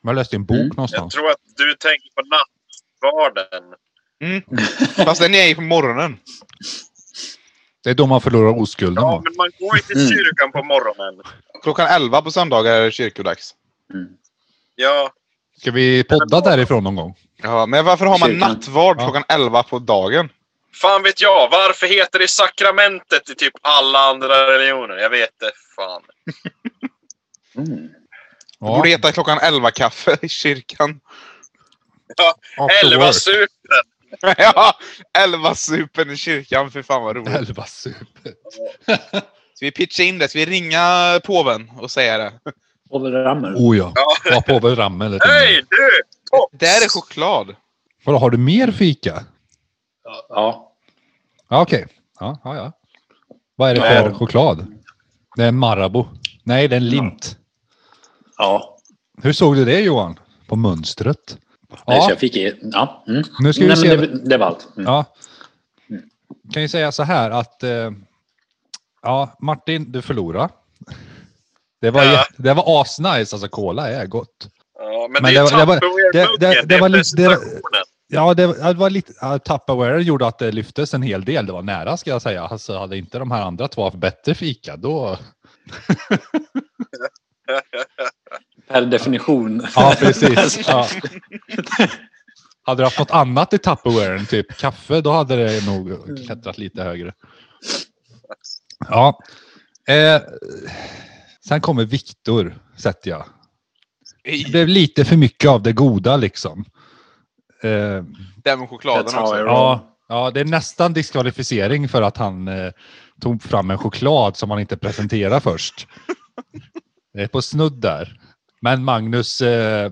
Jag läste en bok
Mm.
jag
någonstans.
tror att du tänker på nattvarden.
Fast den är ju på morgonen.
Det är då man förlorar oskulden.
Ja,
va?
men man går ju till
Mm.
kyrkan på morgonen.
Klockan 11 på söndagar är det kyrkodags.
Ja,
Ska vi podda därifrån någon gång?
Ja, men varför har man
Kyrkan.
nattvard
Ja.
klockan 11 på dagen?
fan vet jag. Varför heter det sakramentet i typ alla andra religioner? Jag vet det. Fan.
Mm.
Det borde
Ja,
heta klockan 11-kaffe i kyrkan.
after
Elva
work.
sup.
ja, 11-supen i kyrkan. Fy fan vad roligt.
Elva super.
Ska vi pitcha in det? Ska vi ringa påven och säga det?
Och rammer.
Oh ja.
Ja.
Var på väl ram eller
Hej du!
Det där är choklad.
Vadå, har du mer fika?
Ja.
Ja, okej. Ja, ja, ja. Vad är det
Ja.
för choklad? Det är en Marabou. Nej, det är en lint.
ja.
Hur såg du det Johan? På mönstret?
Nej, så
Ja,
jag fick i. Ja. Mm.
Nu ska vi
Nej,
se-
men det, det var allt. Mm.
ja. Mm. Kan ju säga så här att eh, ja, Martin, du förlorade. Det var,
Ja.
jätte- det var asnice, alltså cola är gott.
Ja, men,
Men
det
det
är
var- det var-
Tupperware-muggen.
det-
Det,
det- det var
är
lite- det-
presentationen.
Ja, det, det var lite, ja, Tupperware gjorde att det lyftes en hel del. Det var nära ska jag säga. Alltså, hade inte de här andra två haft bättre fika då...
Per definition.
Ja, precis. Ja. Hade du haft något annat i Tupperwaren, typ kaffe, då hade det nog klättrat lite högre. Ja. Eh, sen kommer Viktor, sett jag. Det blev lite för mycket av det goda liksom. Eh,
Den med chokladen
That's how I
också.
roll.
ja, ja, det är nästan diskvalificering för att han eh, tog fram en choklad som han inte presenterade först. Det är på snudd där. Men Magnus, eh, eh,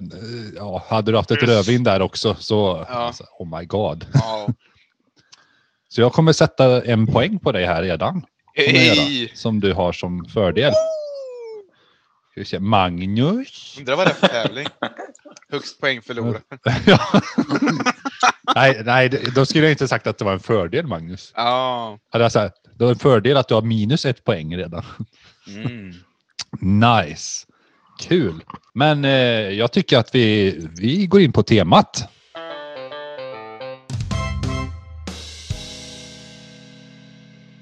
ja, hade du haft ett
Yes.
rödvin där också så,
Ja.
alltså, oh my god.
Ja.
Så jag kommer sätta en poäng på dig här redan. Kommer jag göra,
Hej!
som du har som fördel. Ska vi se, Magnus?
Undrar vad det är för tävling. Högst poäng förlorar.
Ja. nej, nej, det- då skulle jag inte sagt att det var en fördel Magnus.
Ja.
Hade jag sagt, det var en fördel att du har minus ett poäng redan.
Mm.
Nice. Kul. Men eh, jag tycker att vi, vi går in på temat.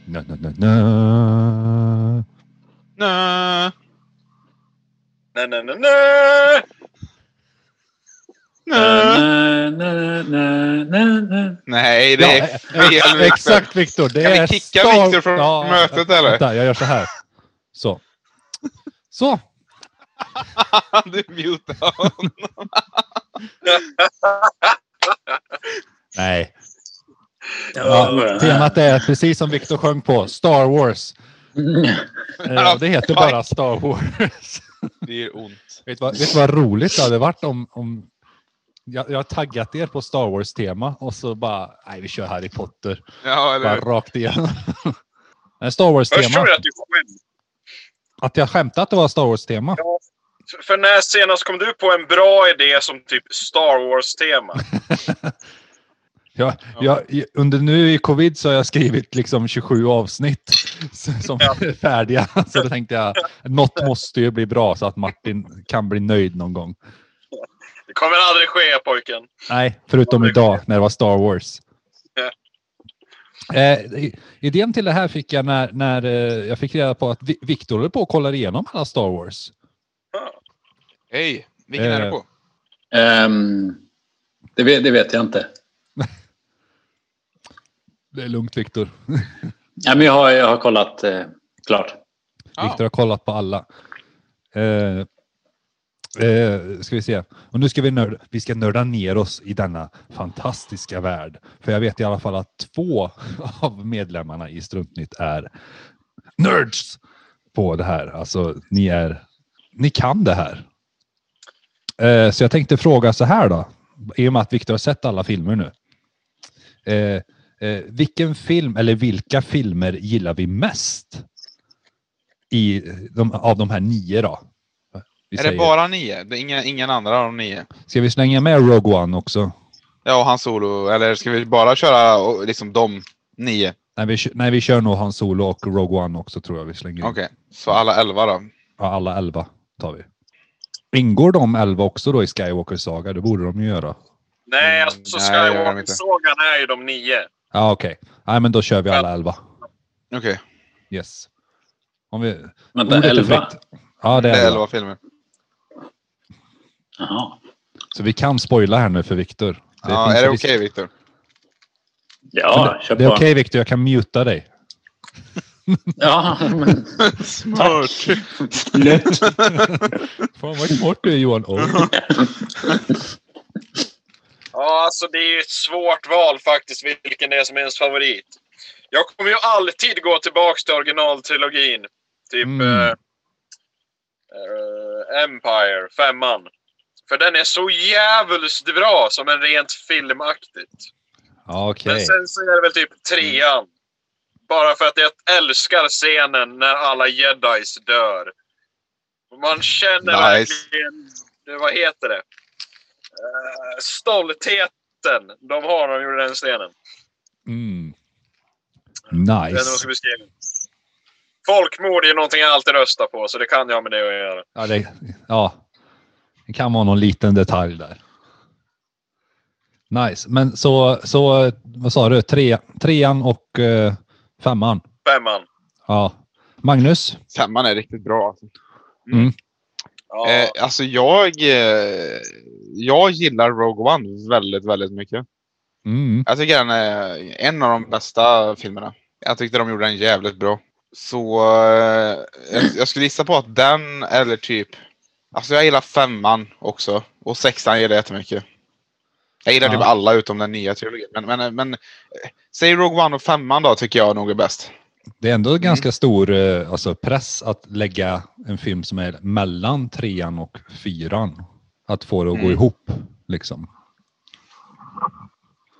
Nö, nö, nö, nö.
Nä,
Nej,
nä.
nej, nej, nej.
Äh,
Na, na, na, na, na.
Nej, det
Ja,
är fel.
eh,
Viktor.
Exakt Viktor. Det
Kan vi
är
kicka Viktor från mötet, eller?
Vänta, jag gör så här. Så. Så.
Du mutade honom.
Nej.
Ja,
Ja, temat är precis som Viktor sjöng på. Star Wars.
Mm.
Eh, och Det heter bara Star Wars.
Det gör ont.
Vet du vad, vet du vad roligt det hade varit om... om jag, jag har taggat er på Star Wars-tema och så bara, nej vi kör Harry Potter.
Ja, eller
Bara
hur?
rakt igenom. Nej, Star
Först
Wars-tema.
tror jag att du skämtade.
Att jag skämtade att det var Star Wars-tema.
För när senast kom du på en bra idé som typ Star Wars-tema?
Jag, jag, i- under nu i covid så har jag skrivit liksom 27 avsnitt s- som
Ja.
är färdiga. Så då tänkte jag, något måste ju bli bra så att Martin kan bli nöjd någon gång.
Det kommer aldrig ske pojken.
Nej, förutom idag när det var Star Wars. Eh, i- idén till det här fick jag när, när eh, jag fick reda på att Vi- Victor håller på och kollar igenom alla Star Wars.
Hej! Vilken är
Eh.
du på?
Ehm, det, vet, det vet jag inte.
Det är lugnt Victor.
Ja, men jag, har, jag har kollat eh, klart.
Viktor har kollat på alla. Eh, eh, ska vi se. Och nu ska vi, nörda, vi ska nörda ner oss i denna fantastiska värld. För jag vet i alla fall att två av medlemmarna i Struntnytt är nerds på det här. Alltså, ni, är, ni kan det här. Eh, så jag tänkte fråga så här då. I och med att Viktor har sett alla filmer nu. Eh, eh, vilken film eller vilka filmer gillar vi mest? I de, av de här nio då? Vi
Är det
säger-
bara nio? Det är inga, ingen andra av de nio?
Ska vi slänga med Rogue One också?
Ja, och hans solo. Eller ska vi bara köra och, liksom de nio?
Nej vi, kö- nej, vi kör nog Han Solo och Rogue One också tror jag vi slänger in.
Okej, så alla elva då.
Ja, alla elva tar vi. Ingår de elva också då i Skywalker Saga? Det borde de ju göra.
Nej,
Mm,
alltså
nej, det gör de inte.
Skywalker-sagan är ju de nio.
Ja, okej. Nej, men då kör vi alla elva.
Okej,
Yes. Om vi...
Vänta,
ordet är
11?
fritt. Ja, det
det
är
är
elva.
elva filmer.
Jaha.
Så vi kan spoila här nu för Viktor. Det
Ja,
finns
är det
ju
okej
risk-
Viktor?
Ja, kör på.
Det är okej Viktor, jag kan muta dig.
Ja, men
Smart!
lätt.
Fan vad smart du är Johan. Oj.
Ja, alltså det är ju ett svårt val faktiskt, vilken det är som är ens favorit. Jag kommer ju alltid gå tillbaka till originaltrilogin. Typ
Mm.
eh, eh, Empire, femman. För den är så jävligt bra som en rent filmaktigt.
Ja, okej.
Men sen så är det väl typ trean. Bara för att jag älskar scenen när alla jedis dör. Man känner
Nice.
verkligen, det- vad heter det? Eh, stoltheten de har när de gjorde den scenen.
Mm.
Jag vet inte vad jag ska
Nice.
beskriva. Folkmord är ju någonting jag alltid röstar på, så det kan jag ha med det att göra.
Ja, det, ja. det kan vara någon liten detalj där. Nice, men så, så vad sa du, Tre, trean och eh, femman?
Femman.
Ja. Magnus?
Femman är riktigt bra. Alltså.
Ja.
Eh, alltså jag, eh, jag gillar Rogue One väldigt, väldigt mycket.
Mm.
Jag tycker den är en av de bästa filmerna. Jag tyckte de gjorde den jävligt bra. Så eh, jag, jag skulle gissa på att den eller typ... Alltså jag gillar femman också. Och sexan gillar jag jättemycket. Jag gillar
Ja.
typ alla utom den nya trilogin. Men, men, men eh, säg Rogue One och femman då tycker jag nog är bäst.
Det är ändå
Mm.
ganska stor eh, alltså, press att lägga en film som är mellan trean och fyran. Att få det att gå
Mm.
ihop. Liksom.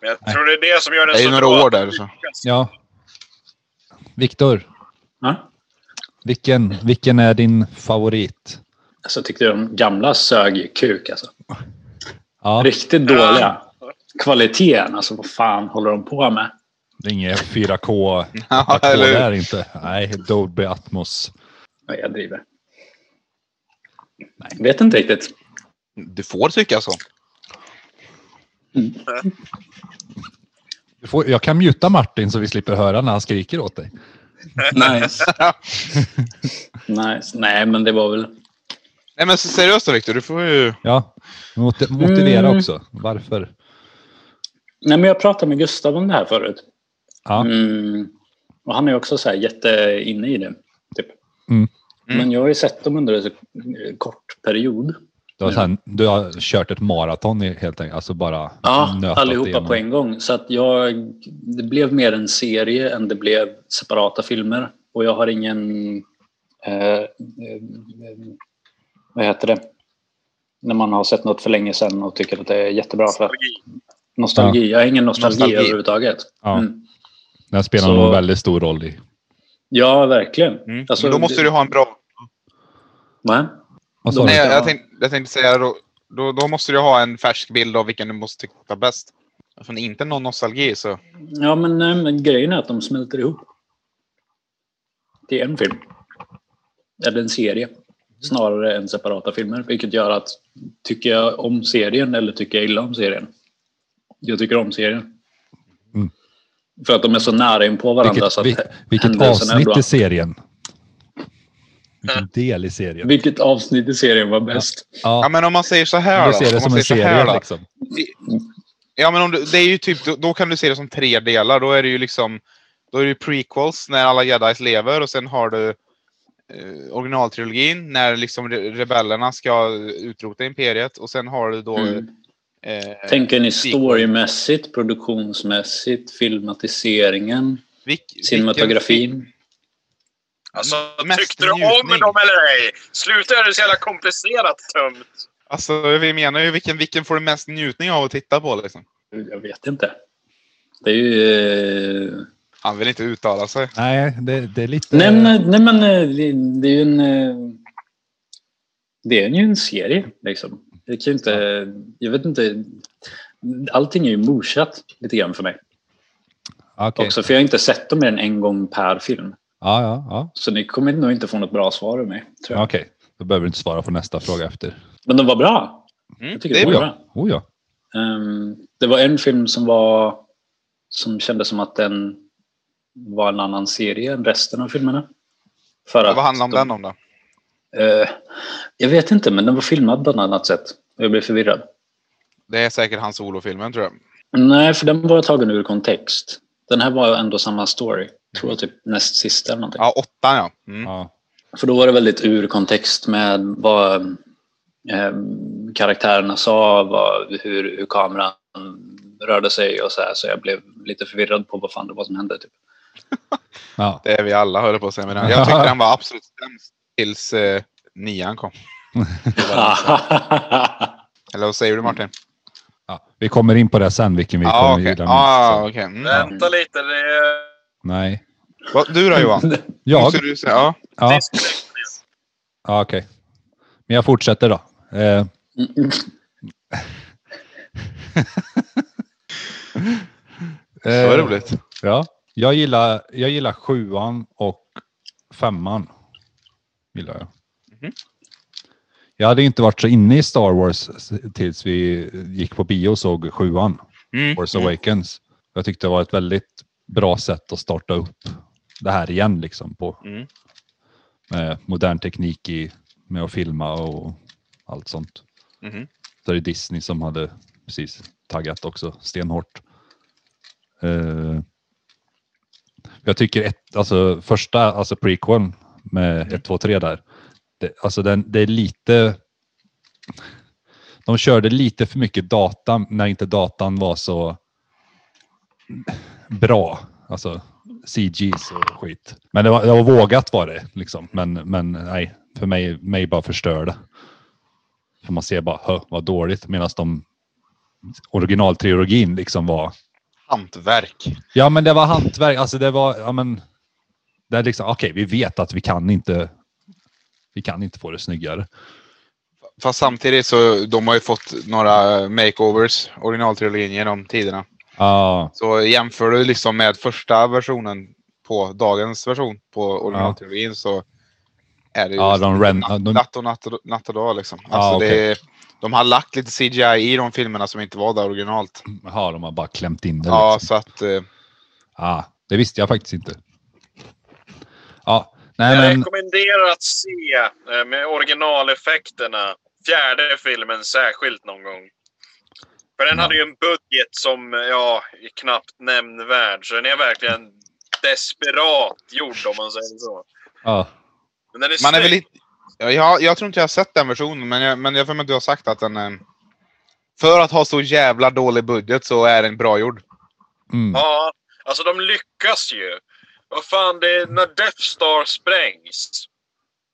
Men jag tror det är det som gör den
Det är
så
ju några
bra.
år där. Så.
Ja. Viktor,
Ja.
vilken, vilken är din favorit?
Alltså tyckte de gamla sög ju kuk alltså.
Ja,
Riktigt dåliga. Kvaliteten, alltså vad fan håller de på med?
det är inget 4K
Ja,
Tack
eller
det
hur?
är inte. Nej, Dolby Atmos.
Ja, jag driver. Nej, vet inte riktigt.
Du får tycka så.
Du får, jag kan muta Martin så vi slipper höra när han skriker åt dig.
Nice. nice. Nej, men det var väl...
Nej men seriöst då Viktor, du får ju...
Ja, mot, motivera
Mm.
också. Varför?
Nej, men jag pratade med Gustav om det här förut.
Ja,
Mm. Och han är också så här jätteinne i det. Typ.
Mm.
Mm.
Men jag har ju sett dem under en så eh, kort period.
du, har sen, du har kört ett maraton i- helt enkelt. Alltså bara
Ja,
nötat
allihopa
igenom.
på en gång. Så att jag, det blev mer en serie än det blev separata filmer. Och jag har ingen... Eh, eh, vad heter det? När man har sett något för länge sedan och tycker att det är jättebra. För att
Nostalgi.
nostalgi. Jag har ingen nostalgi,
Nostalgi.
överhuvudtaget.
Ja.
Mm.
Den spelar
Så-
nog en väldigt stor roll i.
ja verkligen.
Mm.
Alltså,
men då måste
det-
du ha en bra...
Va?
Vad sa
Nej,
du?
jag,
Ja.
jag, tänkte, jag tänkte säga då, då, då måste du ha en färsk bild av vilken du måste tycka är bäst. Eftersom det inte är någon nostalgi så...
Ja, men, nej, men grejen är att de smälter ihop. Det är en film. Eller en serie. Snarare än separata filmer. Vilket gör att tycker jag om serien eller tycker jag illa om serien? Jag tycker om serien.
Mm.
För att de är så nära in på varandra.
Vilket,
så att,
vil, vilket
händelserna är
avsnitt
bra.
i serien? Vilken del i serien?
vilket avsnitt i serien var bäst?
Ja,
Ja,
men om man säger så här
du
då.
ser det
om man
som en
säger så här
serie
då.
liksom.
Ja, men om du, det är ju typ, då, då kan du se det som tre delar. Då är det ju liksom Då är det ju prequels när alla jedis lever och sen har du eh, originaltrilogin när liksom re- rebellerna ska utrota imperiet och sen har du då...
Mm.
Eh,
Tänker ni
sequel.
storymässigt, produktionsmässigt, filmatiseringen,
Vilk- vilken-
cinematografin?
Alltså,
Mest
tyckte du om
njutning.
dem eller ej? Sluta göra det så jävla komplicerat tömt.
Alltså vi menar ju vilken, vilken får du mest njutning av att titta på liksom.
Jag vet inte. Det är ju... eh,
Han vill inte uttala sig.
Nej, det, det är lite...
Nej, men, nej, men eh, det, det är ju en... eh, Det är ju en serie, liksom. Det kan ju inte... Jag vet inte. Allting är ju morsat lite grann för mig
Okej.
också. För jag har inte sett dem mer än en gång per film.
Ja, ja, ja.
Så ni kommer nog inte få något bra svar ur mig, tror jag.
Okej, då behöver du inte svara på nästa fråga efter.
Men de var bra.
Mm,
Jag tycker
det är
de
bra.
var
bra.
bra.
Oh ja.
Ehm, det var en film som var som kändes som att den var en annan serie än resten av filmerna. För
Vad handlar om
de-
den om då?
Eh, jag vet inte, men den var filmad på ett annat sätt. Jag blev förvirrad.
Det är säkert hans solofilmen tror jag.
Nej, för den var tagen ur kontext. Den här var ändå samma story. Jag tror jag typ näst sista eller någonting.
Ja, åttan ja. Mm.
ja.
För då var det väldigt ur kontext med vad eh, karaktärerna sa, vad, hur, hur kameran rörde sig och så här. Så jag blev lite förvirrad på vad fan det var som hände. Typ.
ja.
Det är vi alla höll på att säga. Men jag tyckte den var absolut sämst tills eh, nian kom. Eller vad säger du Martin?
Ja. Vi kommer in på det sen, vilken Mm. vi
Ja,
kommer
okej.
gilla minst.
Ah, okej. Mm.
Vänta lite, det är...
Nej.
Vad- Du då Johan?
Jag? Eh.
Måste du säga? Ja.
Ja,
disconnect.
ja okej. Men jag fortsätter då. Eh,
Det var
eh,
roligt.
Ja, jag gillar, jag gillar sjuan och femman. Gillar jag.
Mhm.
Jag hade inte varit så inne i Star Wars s- tills vi gick på bio och såg sjuan,
Mm.
Force Awakens. Jag tyckte det var ett väldigt bra sätt att starta upp det här igen liksom på
Mm.
med modern teknik i, med att filma och allt sånt.
Mhm.
Så det är Disney som hade precis taggat också stenhårt. Eh, jag tycker ett, alltså första, alltså prequeln med 1, 2, 3 där. Det, alltså den, det är lite... De körde lite för mycket data när inte datan var så bra. Alltså CGs och skit. Men det var, det var vågat var det liksom. Men, men nej, för mig, mig bara förstörde. För man ser bara, "Hö, vad dåligt. Medan de originaltrilogin liksom var
Hantverk.
Ja, men det var hantverk. Alltså det var, ja men. Det är liksom, okej, vi vet att vi kan inte. Vi kan inte få det snyggare.
Fast samtidigt så de har ju fått några makeovers, originaltrilogin, genom tiderna.
Ja,
Så jämför du liksom med första versionen på dagens version på originaltrilogin så är det ju
Ja, de ren-
natt,
de-
natt och natt, och- natt och dag liksom.
Ja,
Alltså
okej.
det är, de har lagt lite CGI i de filmerna som inte var där originalt.
ja, de har bara klämt in det.
Ja,
liksom.
så att... eh,
ja, det visste jag faktiskt inte. Ja, nej
Jag
men.
rekommenderar att se eh, med originaleffekterna fjärde filmen särskilt någon gång. För den
Ja.
hade ju en budget som eh, ja, är knappt nämnvärd. Så den är verkligen desperat gjord om man säger så.
Ja,
Men den är
Man är väl
snygg.
inte... ja, jag, jag tror inte jag har sett den versionen, men jag, men jag för mig att du har sagt att den... eh, För att ha så jävla dålig budget så är den bra gjord.
mm,
Ja, alltså de lyckas ju. Vad fan, det är när Death Star sprängs.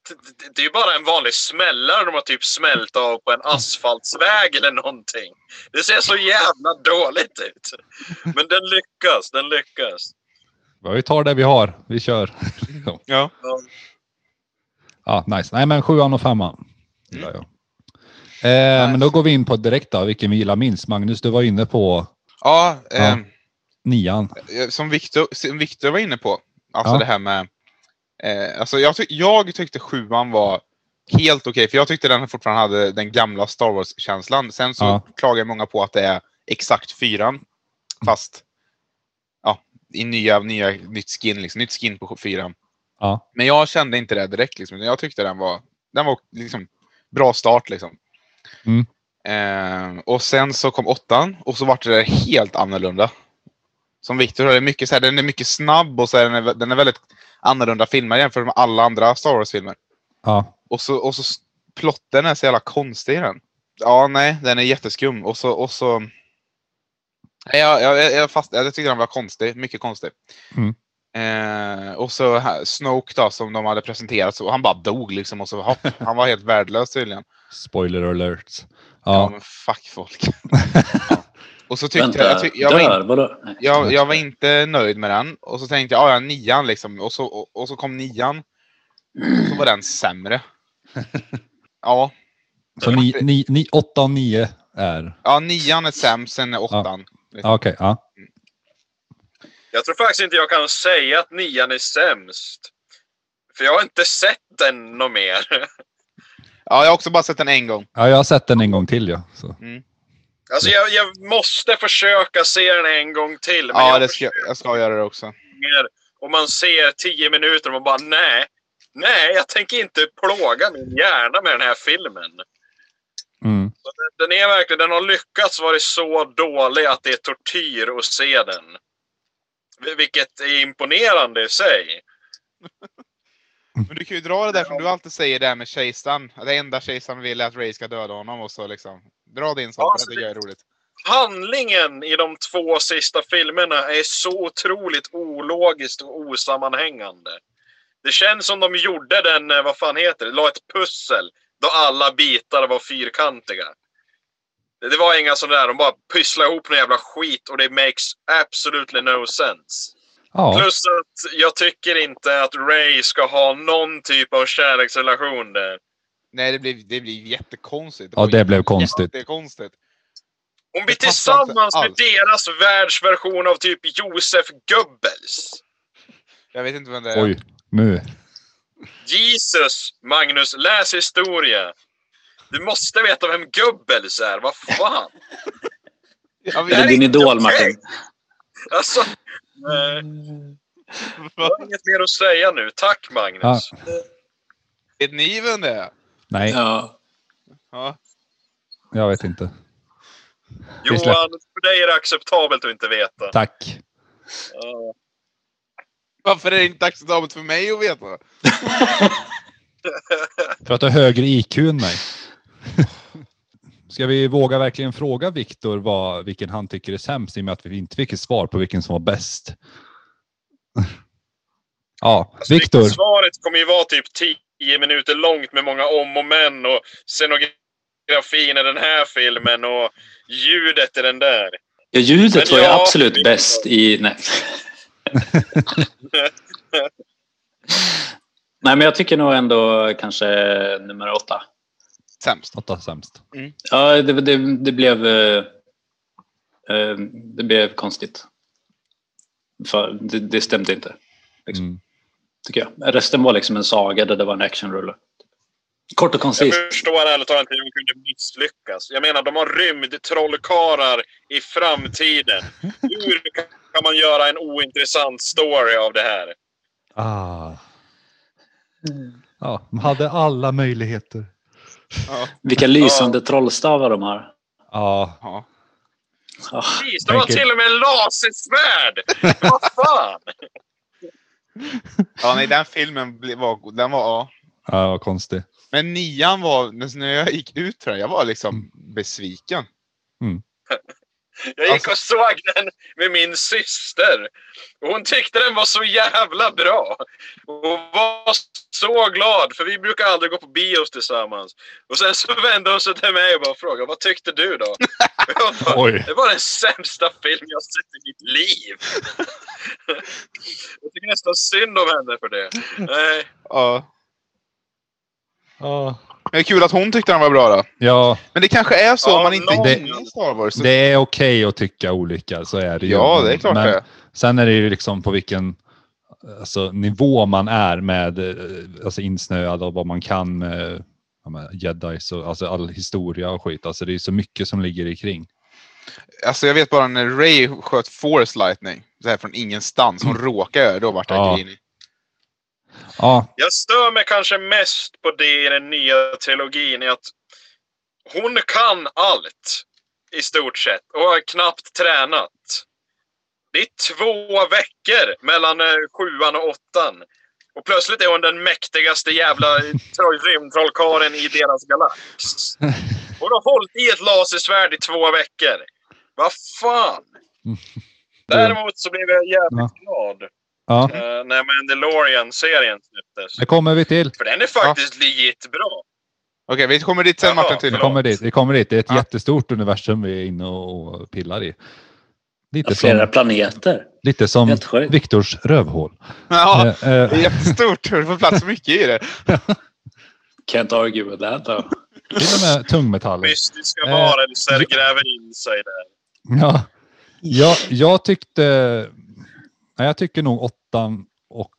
Det- det- Det är ju bara en vanlig smällare de har typ smält av på en asfaltsväg eller någonting. Det ser så jävla dåligt ut. Men den lyckas, den lyckas.
ja, vi tar det vi har. Vi kör.
Ja.
Ja, nice. Nej, men sjuan och femman gillar jag. Eh, Men då går vi in på direkt då, vilken vi gillar minst. Magnus, du var inne på
Ja, ehm,
nian.
eh, som Victor, som Victor var inne på. Alltså
Ja.
det här med... Eh, alltså jag, tyck- jag tyckte sjuan var helt okej, för jag tyckte den fortfarande hade den gamla Star Wars-känslan. Sen så
Ja.
klagar många på att det är exakt fyran, fast ja, i nya, nya, nytt skin. Liksom, nytt skin på fyran.
Ja,
Men jag kände inte det direkt. Liksom. Jag tyckte den var, den var liksom bra start. Liksom.
Mm.
Eh, och sen så kom åttan och så vart det där helt annorlunda. som Victor har. Det är mycket, så här, den är mycket snabb och så här, den, är, den är väldigt annorlunda filmer jämfört med alla andra Star Wars-filmer.
Ja.
Och så, och så plotten är så jävla konstig i den. Ja, nej, den är jätteskum. Och så... Och så nej, jag, jag, jag, fast, jag tyckte den var konstig, mycket konstig.
Mm.
Eh, och så här, Snoke då, som de hade presenterat, så han bara dog liksom. Och så, hopp, han var helt värdelös tydligen.
Spoiler alert.
Ja,
Ja.
men fuck folk. Ja. Och så tyckte
Vänta,
jag... Jag, tyck, jag, var in,
dör? Vadå? Nej.
jag, jag var inte nöjd med den. Och så tänkte jag, ja, ja, nian liksom. Och så, och, och så kom nian. Och så var den sämre. Ja,
Så ni, ni, ni, åtta och nio är...
ja nian är sämst, sen är åttan.
Ja, Okej, ja.
Jag tror faktiskt inte jag kan säga att nian är sämst. För jag har inte sett den något mer.
Ja, jag har också bara sett den en gång.
ja. Jag har sett den en gång till ja. Så.
Alltså jag, jag måste försöka se den en gång till. Men
Ja,
jag
det ska, jag ska göra det också.
försöker och man ser tio minuter och man bara nej. Nej, jag tänker inte plåga min hjärna med den här filmen.
Mm.
Den är verkligen, den har lyckats vara så dålig att det är tortyr att se den. Vil- Vilket är imponerande i sig.
Men du kan ju dra det där som du alltid säger där med kejsaren. Att Det enda kejsaren vill är att Ray ska döda honom och så liksom. Dra din sån,
Ja,
för
så
det tycker jag är roligt.
handlingen i de två sista filmerna är så otroligt ologiskt och osammanhängande. Det känns som de gjorde den, eh, vad fan heter det, la ett pussel då alla bitar var fyrkantiga. Det det var inga sådana där, de bara pysslade ihop någon jävla skit och det makes absolutely no sense.
Ja.
Plus att jag tycker inte att Ray ska ha någon typ av kärleksrelation där.
Nej, det blir, det blir jättekonstigt.
ja, det blev konstigt.
Det är konstigt.
Hon
Det
blir
passar inte
tillsammans med
alls.
deras världsversion av typ Josef Goebbels.
Jag vet inte vem det är.
Oj, nu.
Jesus, Magnus, läs historia. Du måste veta vem Goebbels är, vad fan?
Jag
Är det
vet,
din
inte
idol,
okej.
Martin?
Alltså, nej, jag har inget mer att säga nu. Tack Magnus.
Ja.
vet ni vem det är?
Nej,
Ja.
Ja.
jag vet inte. vi släpper.
Johan, för dig är det acceptabelt att inte veta.
Tack.
Ja.
Varför är det inte acceptabelt för mig att veta?
För att du har högre IQ än mig. Ska vi våga verkligen fråga Viktor vad- vilken han tycker är sämst i och med att vi inte fick ett svar på vilken som var bäst? Ja,
Alltså,
Viktor.
Svaret kommer ju vara typ 10 minuter långt med många om och men och scenografin i den här filmen och ljudet i den där.
Ja,
Men
ljudet var ju
jag-
absolut bäst i... Nej. Nej, men jag tycker nog ändå kanske nummer åtta.
Sämst.
Åtta sämst.
Ja, det, det, det blev... eh, eh, det blev konstigt. För det, det stämde inte,
Mm.
tycker jag. Resten var liksom en saga där det var en actionrulle. Kort och
Jag
koncist.
förstår ärligt talat inte hur de kunde misslyckas. Jag menar, de har rymdtrollkarlar i framtiden. Hur kan man göra en ointressant story av det här?
Ah. Ja, de hade alla möjligheter.
Ja.
Vilka lysande trollstavar de har. Ah,
Ja,
ja.
Ja.
Precis, De har
Tänker-
till och med lasersvärd! Vad fan!
ja, nej, den filmen bli- var... Den var ja.
ja vad konstigt.
Men nian var... När jag gick ut tror jag, jag var liksom besviken.
Jag gick och såg den med min syster. Och hon tyckte den var så jävla bra. Och hon var så glad, för vi brukar aldrig gå på bios tillsammans. Och sen så vände hon sig till mig och bara frågade vad tyckte du då? Och jag bara,
Oj.
Det var den sämsta film jag sett i mitt liv. jag tycker nästan synd om henne för det. Nej,
Ja.
Ja,
Men kul att hon tyckte den var bra då.
ja
Men det kanske är så
Ja,
om man inte
någon-
är inne i Star Wars.
det är okej att tycka olika. Så är det ju.
ja, det är klart
Men-
det är.
Sen är det ju liksom på vilken alltså, nivå man är med eh, alltså, insnöad och vad man kan med, ja, med jedis och alltså, all historia och skit. Alltså, det är ju så mycket som ligger i kring.
Alltså jag vet bara när Ray sköt Force Lightning. Så här från ingenstans. Hon råkade göra det. Då vart jag
Mm. Ja.
grinig.
Ja,
jag stör mig kanske mest på det i den nya trilogin är att hon kan allt i stort sett och har knappt tränat. Det är två veckor mellan eh, sjuan och åttan. Och plötsligt är hon den mäktigaste jävla troll- rymdtrollkaren i deras galax. Hon har hållit i ett lasersvärd i två veckor. Vad fan! Däremot så blev jag jävligt glad
Ja,
eh, när Mandalorian-serien släpptes.
det kommer vi till.
För den är faktiskt legit bra.
Okej, vi kommer dit sen
Jaha,
Martin
Vi
tydligen.
förlåt.
kommer dit. Vi kommer dit. Det är ett
Ja.
jättestort universum vi är inne och pillar i. Lite
Flera
som,
planeter.
lite som
Helt sjukt.
Viktors rövhål.
Ja,
Eh, eh,
det är jättestort. Det får plats mycket i det.
Can't argue with that. Though.
till och med tungmetaller.
Mystiska
Eh,
varelser
ja.
gräver in sig där.
Ja. Jag, jag tyckte... Nej, jag tycker nog åttan och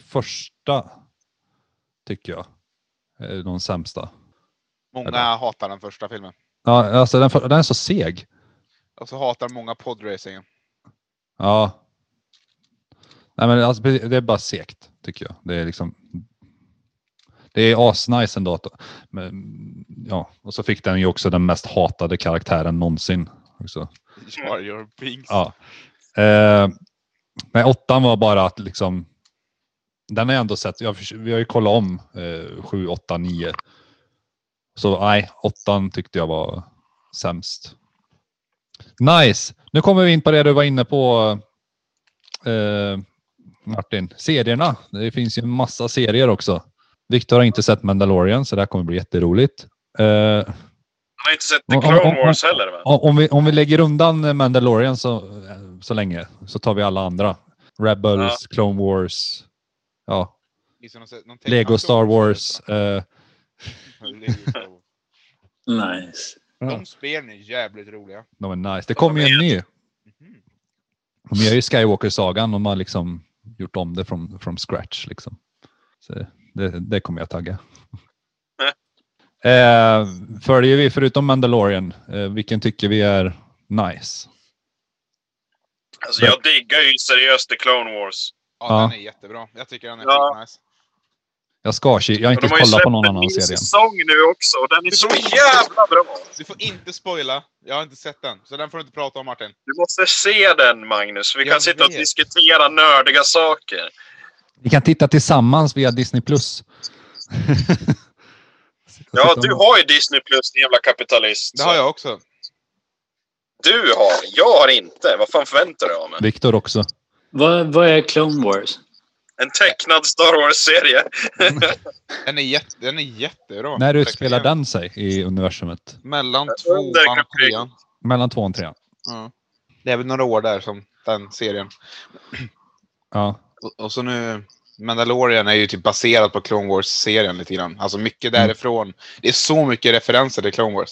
första tycker jag är de sämsta.
Många
Eller?
hatar den första filmen.
Ja, alltså den, för- den är så seg.
Och så hatar många podracingen.
Ja. Nej, men alltså, det är bara segt tycker jag. Det är liksom... Det är asnice ändå. att- Men, ja, och så fick den ju också den mest hatade karaktären någonsin. Också.
You're your binks.
Ja. Eh, nej, åttan var bara att liksom... Den har jag ändå sett. Jag, förs- vi har ju kollat om eh, sju, åtta, nio. Så nej, åttan tyckte jag var sämst. Nice. Nu kommer vi in på det du var inne på eh, Martin. Serierna. Det finns ju en massa serier också. Viktor har inte sett Mandalorian så det här kommer bli jätteroligt. Eh,
Han har inte sett
Om-
The
om- om-
Clone Wars heller va?
om om vi, om vi lägger undan Mandalorian så, så länge så tar vi alla andra. Rebels,
Ja.
Clone Wars, ja,
Liksom någon- någon
Lego
tecknad
Star
film.
Wars. eh,
Lego Star Wars.
Nice.
De spelen är jävligt roliga.
de är nice. Det kommer ju en ny.
Mhm.
De gör ju Skywalker-sagan. De har liksom gjort om det från from scratch. Liksom. Så det, det kommer jag tagga. Eh, följer vi förutom Mandalorian, eh, vilken tycker vi är nice?
Alltså, jag diggar ju seriöst The Clone Wars.
Ja,
Ja.
den är jättebra. Jag tycker den är
Ja.
nice.
Jag ska jag har
Och
inte
de har ju
kollat
släppt
på någon
en
annan
ny
serien.
säsong nu också och den är så jävla bra!
Du får inte spoila. Jag har inte sett den, så den får du inte prata om Martin.
Du måste se den Magnus. Vi kan
Jag
sitta och
vet.
diskutera nördiga saker.
Vi kan titta tillsammans via Disney+. Plus.
Ja, du har ju Disney Plus, din jävla kapitalist.
Det har jag också.
Du har. Jag har inte. Vad fan förväntar du dig av mig?
Viktor också.
Vad, vad är Clone Wars?
En tecknad Star Wars-serie.
Den är, jätte, den är jättebra.
När
Verkligen.
utspelar den sig i universumet?
Mellan
Under
tvåan och
kapitlet.
trean.
Mellan två och trean?
Ja. Det är väl några år där som den serien.
Ja.
Och, och så nu, Mandalorian är ju typ baserad på Clone Wars-serien lite grann. Alltså mycket
Mm.
därifrån. Det är så mycket referenser till Clone Wars.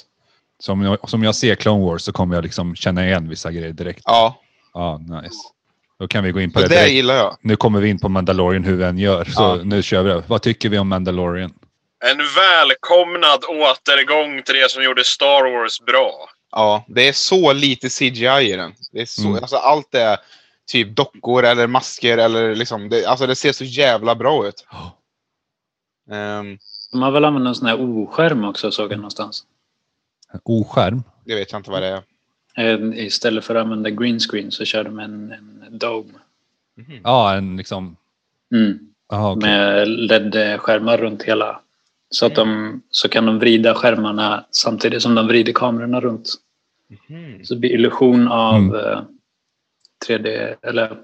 Som jag, som jag ser Clone Wars så kommer jag liksom känna igen vissa grejer direkt.
Ja,
Ja, nice. Då kan vi gå in på
så
det
det,
direkt.
gillar jag.
Nu kommer vi in på Mandalorian hur vi än gör. Så
Ja.
nu kör vi det. Vad tycker vi om Mandalorian?
En välkomnad återgång till det som gjorde Star Wars bra.
Ja, det är så lite CGI i den. Det är så,
Mm.
alltså, allt är typ dockor eller masker eller liksom. Det, alltså det ser så jävla bra ut.
Ja.
Ehm,
De har väl använt en sån här oskärm också såg jag någonstans.
En Oskärm?
det vet jag inte vad det är.
En, Eh, istället för att använda green screen så kör de en, en dome.
Mhm.
Ja, en liksom...
Mm.
Aha, okej.
Med LED-skärmar runt hela. Så, att de, så kan de vrida skärmarna samtidigt som de vrider kamerorna runt.
Mhm.
Så det blir illusion av
Mm.
eh, 3D. Eller,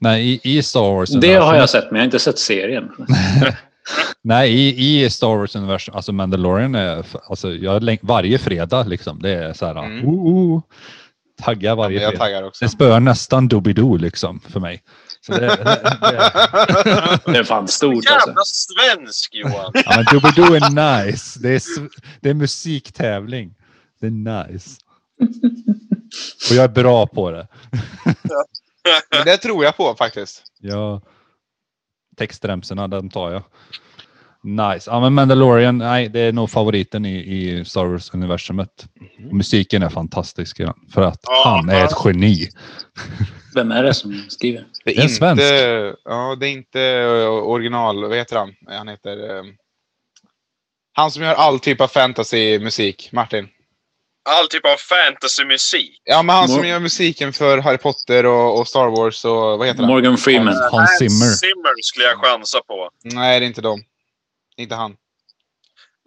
Nej, i, i Star Wars.
det har jag sett men jag har inte sett serien.
Nej, i, i Star Wars universum, alltså Mandalorian är, f- alltså jag läng- varje fredag liksom, det är så här,
Mm.
oh, oh, taggar
Ja, men
varje
jag
fredag.
taggar också.
Det spöar nästan Doobidoo liksom för mig. Så det, det, det,
Det är fan stort alltså.
Jävla svensk Johan!
ja, men Doobidoo är nice. Det är, s- det är musiktävling. Det är nice. Och jag är bra på det.
Men det tror jag på faktiskt.
Ja. Textremsorna, den tar jag. Nice. Ja, men Mandalorian, nej, det är nog favoriten i, i Star Wars-universumet. Musiken är fantastisk i den, för att
Mhm. Ja,
han är ett geni.
Vem är det som skriver?
Det är,
Det är en
inte,
svensk.
Ja, det är inte eh, original. Vad heter han? Han heter... eh, han som gör all typ av fantasy-musik. Martin.
all typ av fantasymusik.
Ja, men han som
Mor-
gör musiken för Harry Potter och, och Star Wars och vad heter han?
Morgan Freeman.
Hans Zimmer.
Zimmer skulle jag chansa på.
Nej, det är inte dem. Inte han.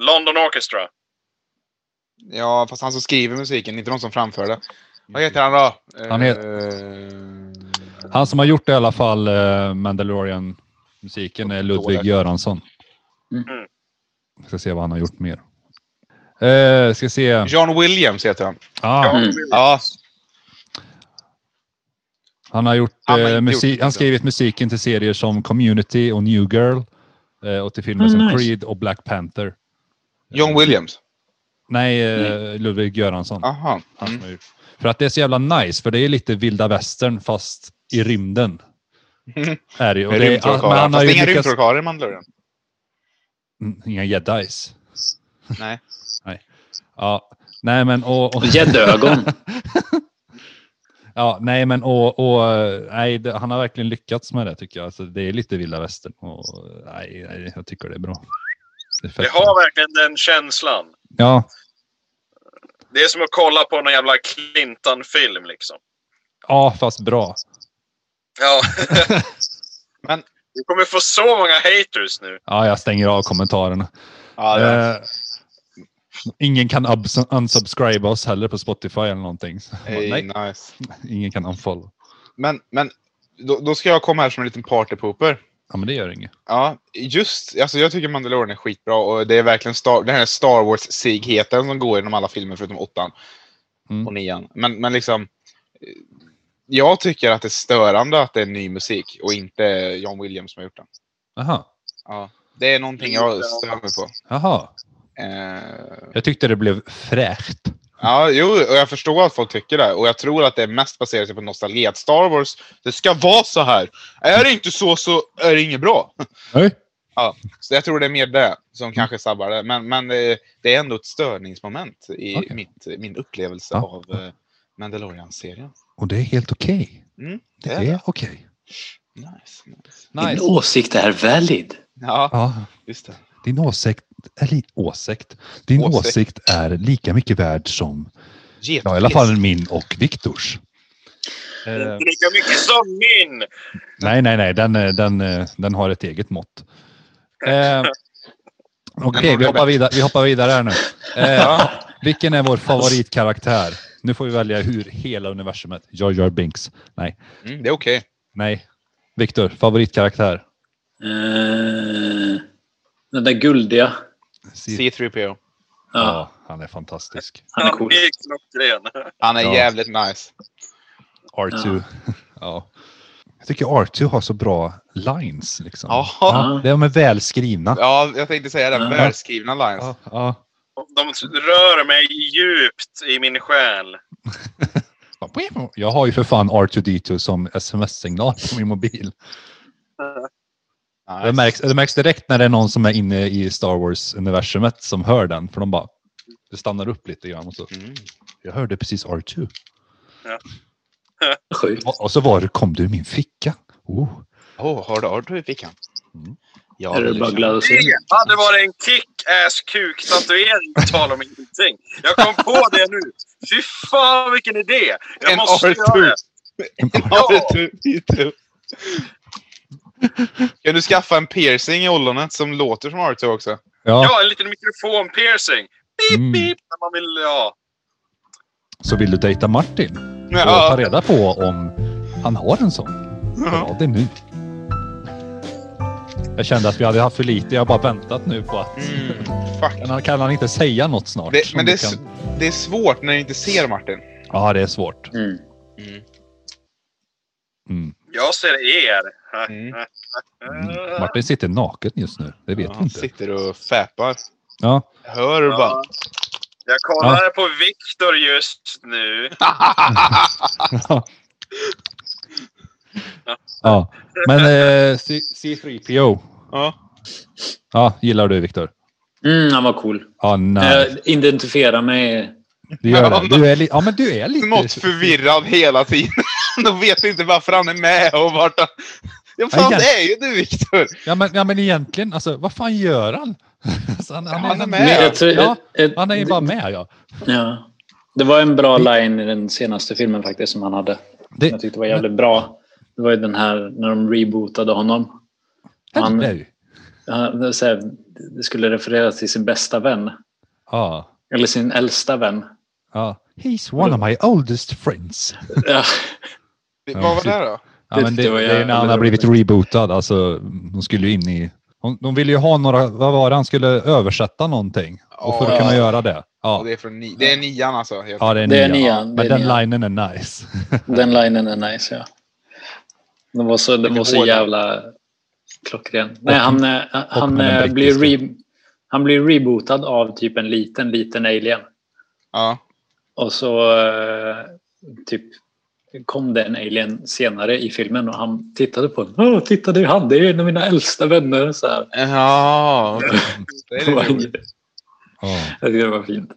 London Orchestra.
Ja, fast han som skriver musiken, inte de som framför det. Vad heter han då?
Han heter-
Eh,
Han som har gjort det i alla fall, eh, Mandalorian-musiken, är Ludvig Göransson.
Mm.
Ska se vad han har gjort mer. Eh, ska se.
John Williams heter han.
Ah,
Mm.
Ja,
han har gjort,
Han har inte
eh,
gjort
musik,
det.
han har skrivit musiken till serier som Community och New Girl. Eh, och till filmer
Mm,
som
nice.
Creed och Black Panther.
John Williams.
Nej, eh, Ludvig Göransson.
Aha.
Han som
Mm.
har gjort. För att det är så jävla nice, för det är lite vilda västern fast i rymden.
Mm.
Är det, ju. och
Med
det, är- men
rymdtrollkarlar.
han har
Fast
ju
inga
lyckats...
rymdtrollkarlar i Mandalorian.
Mm, Inga jedis.
Nej.
Ja, nej men och... och
Gäddögon.
ja, nej men och... och eh, nej, det, han har verkligen lyckats med det tycker jag. Alltså, det är lite vilda västern. Och, nej, nej, jag tycker det är bra. Det är fett
Det
bra.
har verkligen den känslan.
Ja,
Det är som att kolla på någon jävla Clinton-film liksom.
ja, fast bra.
Ja.
Men-
Du kommer få så många haters nu.
Ja, jag stänger av kommentarerna.
Ja, det är-
Eh, ingen kan abs- unsubscriba oss heller på Spotify eller någonting. Så,
Ey,
nej,
nice.
ingen kan unfollow.
Men, men då, då ska jag komma här som en liten partypooper.
Ja, men det gör inget.
Ja, just. Alltså jag tycker Mandalorian är skitbra och det är verkligen Star, den här Star Wars-sigheten som går genom alla filmer förutom åttan
Mm.
och nian. Men, men liksom, eh, jag tycker att det är störande att det är ny musik och inte John Williams som har gjort den.
Aha.
Ja, det är någonting jag stör mig på.
Aha.
Eh,
Jag tyckte det blev fräscht.
Ja, jo, och jag förstår att folk tycker det. Och jag tror att det är mest baserat sig på nostalgi. Att Star Wars, det ska vara så här. Är det inte så, så är det inget bra.
Nej.
Så jag tror det är mer det som kanske sabbar det. Men, men eh, det är ändå ett störningsmoment i
Okej.
mitt, min upplevelse
Ja.
av eh, Mandalorian-serien.
Och det är helt okej.
Mm, det
Det
är det.
är okej.
Nice, nice.
Din åsikt är valid.
Ja,
Ja,
just det.
din åsikt, eller åsikt. Din
Åsikt.
åsikt. är lika mycket värd som,
Get,
ja, i alla fall min och Viktors. Eh,
Inte lika mycket som min!
nej, nej, nej, den, eh, den, eh, den har ett eget mått. Eh, okej, vi, hoppar vidare, vi hoppar vidare här nu. Eh,
Ja.
vilken är vår favoritkaraktär? Nu får vi välja hur hela universumet. Jar Jar Binks. Nej,
Mm, det är okej.
nej. Viktor, favoritkaraktär?
Eh, den där guldiga.
C3PO.
Ja,
Ja, han är fantastisk.
han är cool.
Det är klockren.
Han är
Ja.
jävligt nice.
R2. Ja. Jag tycker R2 har så bra lines. Liksom.
Jaha.
Ja, de är välskrivna.
Ja, jag tänkte säga det.
Ja.
Välskrivna lines.
Ja, ja.
De rör mig djupt i min själ.
Jag har ju för fan R2D2 som sms-signal på min mobil.
Nice.
Det märks, det märks direkt när det är någon som är inne i Star Wars-universumet som hör den. För de bara, det stannar upp lite grann. Och så,
Mm.
jag hörde precis R2.
Sjukt.
Och- Och så var det, kom du i min ficka. Oh.
Oh, har du Arthur i fickan?
Mm.
Ja,
Är liksom- det bara glad att se?
Det hade varit en kick-ass-kuk-tatuering på tal om ingenting. Jag kom på det nu. Fy fan vilken idé! Jag
En
måste göra
R2.
det. Ja.
R2. Kan du skaffa en piercing i ollonet som låter som R2 också?
Ja,
Ja, en liten mikrofon-piercing. Beep,
Mm.
beep, när man vill... Ja.
så vill du dejta Martin? och ta reda på om han har en sån.
Mm,
Ja, det är nu. Jag kände att vi hade haft för lite. Jag har bara väntat nu på att...
Mm, fuck.
Kan han, kan han inte säga något snart?
Det,
som
men
vi
det är,
kan...
s- det är svårt när du inte ser Martin.
Ja, det är svårt.
Mm.
Mm.
Jag ser er. Eh,
Mm.
Mm. Martin sitter naken just nu. Det vet
Ja,
vi
han
inte.
sitter och fäpar.
Ja.
Hör du bara?
Ja. Jag kollar på Viktor just nu.
ja. Men eh, C- C3PO.
Ja.
Ja, gillar du Viktor?
Mm, han var cool.
Ja,
Eh,
nej.
Jag identifierar mig.
Du gör det. Du är, li- ja, men du är lite...
Smått förvirrad hela tiden. De vet inte varför han är med och vart han... Ja, fan,
Ja,
det är ju du, Viktor!
Ja, men, ja, men egentligen. Alltså, vad fan gör han? Alltså, han,
Han är med.
Men jag tror-
Ja,
ett-
han är ju bara med. Ja.
Ja. Det var en bra line i den senaste filmen faktiskt som han hade.
Det-
jag tyckte det var jävligt bra. Det var ju den här när de rebootade honom. Han-
Helvete.
Ja, det är så här, Det skulle referera till sin bästa vän.
Ja.
Eller sin äldsta vän.
Ja. He's one of my oldest friends.
Ja,
Det-
Ja,
Vad var
precis.
det då?
Ja, men det,
tyckte jag var
det är ju när han har
jävligt
blivit rebootad. Alltså, de skulle ju in i... hon- De ville ju ha några... Vad var det? Han skulle översätta någonting. Och för att
Ja.
kunna göra det.
Och
Ja,
det, är från ni- det är nian alltså. Helt.
ja det är
Det är
nian. Ja,
nian, det
Men
är
den
nian.
linen är nice.
den linen är nice, ja. Den var så, den var så
hård.
jävla klockren. Nej, han, eh, han,
med den
eh, blir
brittiska.
re, han blir rebootad av typ en liten, liten alien.
Ja.
Och så eh, typ kom det en alien senare i filmen och han tittade på den. Åh, titta det är han, det är en av mina äldsta vänner. Så här.
Ja, okej. det är
Det
lite
var,
roligt.
Ja.
jag tyckte det var fint.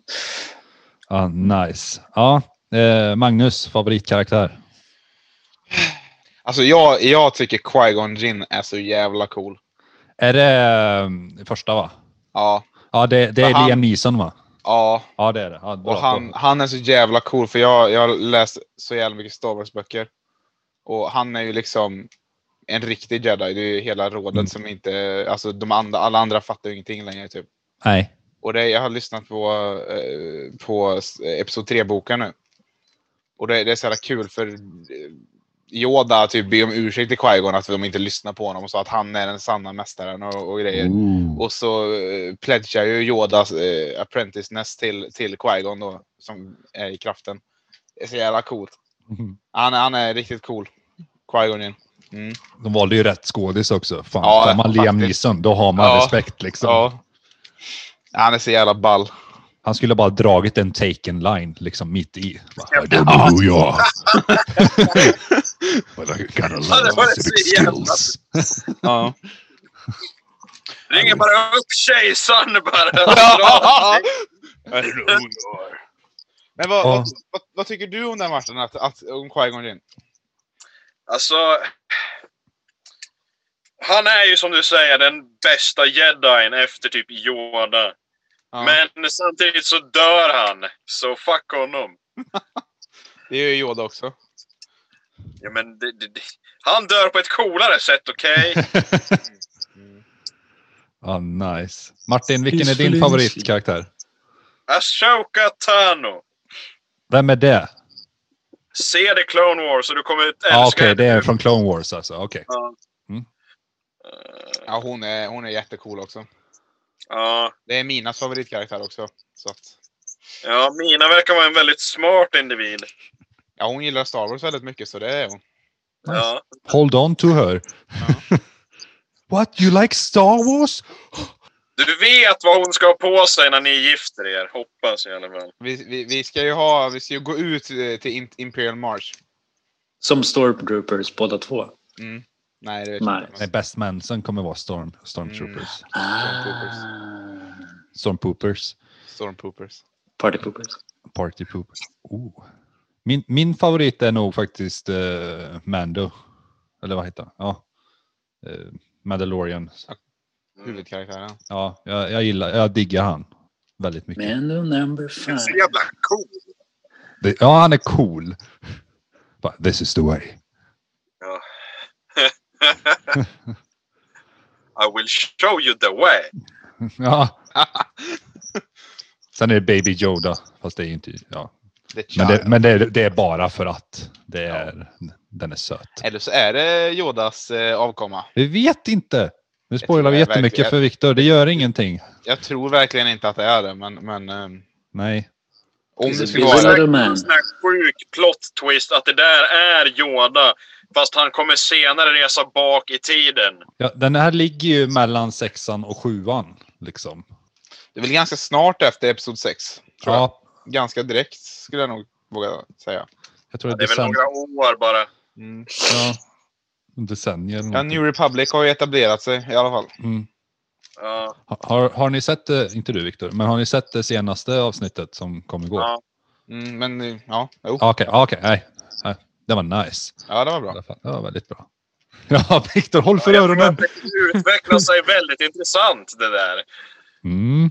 Ja, nice. Ja, eh, Magnus, favoritkaraktär?
Alltså jag, jag tycker Qui-Gon Jinn är så jävla cool.
Är det eh, första va?
Ja,
Ja, det, det är
Men han-
Liam Neeson va?
ja.
Ja, det är det. Ja, bra,
Och han,
bra.
han är så jävla cool för jag, jag har läst så jävla mycket Star Wars-böcker. Och han är ju liksom en riktig jedi. Det är ju hela rådet
Mm.
som inte, alltså de andra, alla andra fattar ju ingenting längre typ.
Nej.
Och det, jag har lyssnat på, eh, på s- Episod 3-boken nu. Och det, det är så jävla kul för eh, Yoda typ ber om ursäkt till Qui-Gon att de inte lyssnar på honom och så att han är den sanna mästaren och, och
Eh,
grejer. Och så uh, pledgar ju Yodas uh, apprenticeness till, till Qui-Gon då, som är i kraften. Det är så jävla coolt.
Mhm.
Han, är- han är riktigt cool. Qui-Gon Jinn. mm.
De valde ju rätt skådis också. Fan,
Ja,
tar man Liam
faktiskt.
Neeson, då har man
Ja.
respekt liksom.
Ja. Han är så jävla ball.
Han skulle bara dragit en taken line liksom mitt i. Bara,
Ja.
"Det är New York."
But I got a
Ja,
lot
det
of
var det
civic
så jävla-
skills.
Ja.
Ringer bara upp kejsaren bara.
Men vad,
Ja.
vad, vad, vad tycker du om den matchen? Att, att, om Qui-Gon Jinn?
Alltså... Han är ju som du säger den bästa jedin efter typ Yoda.
Ja.
Men samtidigt så dör han. Så fuck honom.
Det är ju Yoda också.
Ja, men det, det, det. Han dör på ett coolare sätt, okej?
Ja, Ah, nice. Martin, vilken är
Peaceful
din
innocent.
favoritkaraktär?
Ashoka Tano.
Vem är det?
Se The Clone Wars och du kommer ut
Ah,
älska
Okej,
henne.
det Mm. är från Clone Wars alltså. Okej.
Eh,
Ja, hon är, hon är jättecool också.
Ja,
Det är Minas favoritkaraktär också. Så att,
ja, Mina verkar vara en väldigt smart individ.
ja, hon gillar Star Wars väldigt mycket, så det är hon.
Ja.
Hold on to her. What? You like Star Wars?
Du vet vad hon ska ha på sig när ni gifter er, hoppas jag i alla fall.
Vi, vi, vi ska ju ha, vi ska ju gå ut eh, till Im- Imperial March.
Som stormtroopers båda två.
Mm. Nej, det vet
Nej.
jag inte.
Nej, Best Manson kommer vara Storm, Stormtroopers.
Stormtroopers.
Ah.
Mm.
Stormpoopers.
Stormpoopers.
Partypoopers.
Party poopers. Oh. Min, min favorit är nog faktiskt eh, Mando. Eller vad heter han? Ja. Eh, Mandalorian.
Mm.
Huvudkaraktären.
Ja, jag, jag gillar, jag diggar han. Väldigt mycket.
Mando number five.
jävla cool.
Det, ja, han är cool. Bara, This is the way.
Ja. I will show you the way.
Ja. Sen är det Baby Yoda, fast det är ju inte... Ja.
The
Men, det,
Child.
men det, är, det är bara för att det är, den är söt.
Eller så är det Yodas eh, avkomma.
Vi vet inte. Nu spoilar
tror
vi
jag
jättemycket
verkligen-
för Viktor. Det gör ingenting.
Jag tror verkligen inte att det är det, men, men ehm,
Nej.
om
Is
det
it
skulle
Yoda?
vara det.
Little man.
En sån här sjuk plot twist att det där är Yoda. Fast han kommer senare resa bak i tiden.
Ja, den här ligger ju mellan sexan och sjuan. Liksom.
Det är väl ganska snart efter Episod 6. Tror
Ja,
jag. Ganska direkt skulle jag nog våga säga.
jag tror
Ja,
det
det är
är
väl
decen-
några år bara.
Mm.
ja, decennier. eller
Ja,
någonting.
New Republic har ju etablerat sig i alla fall.
Mm.
Ja,
Ha- Har, har ni sett, det- inte du Viktor, men har ni sett det senaste avsnittet som kom igår?
ja.
Mm, men eh, ja, jo.
Ja, Okej, ja, okej, nej. nej. Det var nice.
ja, det var
I
bra.
alla fall. Det var väldigt bra. Ja, Viktor, håll för
Jag tror
öronen!
att det utvecklar sig väldigt intressant det där.
Mm.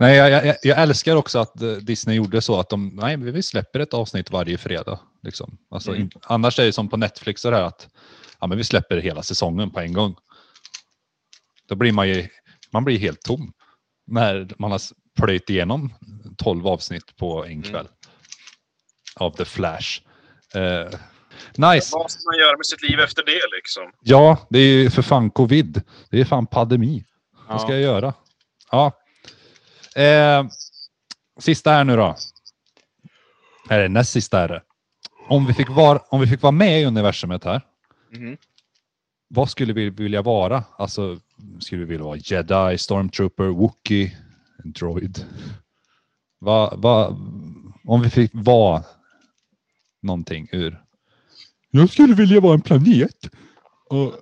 Nej, jag, jag, jag älskar också att eh, Disney gjorde så att de, nej, men vi släpper ett avsnitt varje fredag. Liksom. Alltså,
Mm.
in, annars är det som på Netflix och det här att ja, men vi släpper hela säsongen på en gång. Då blir man ju man blir helt tom när man har s- plöjt igenom 12 avsnitt på en kväll av The Flash. Eh, nice.
Vad ska man göra med sitt liv efter det liksom?
Ja, det är ju för fan covid. Det är fan pandemi.
Ja.
Vad ska jag göra? Ja. Eh, sista här nu då. Eller näst sista är det. Om vi fick, var, om vi fick vara med i universumet här.
Mhm.
Vad skulle vi vilja vara? Alltså, skulle vi vilja vara jedi, stormtrooper, wookie, droid? Va, va, om vi fick vara någonting ur. Jag skulle vilja vara en planet. Och,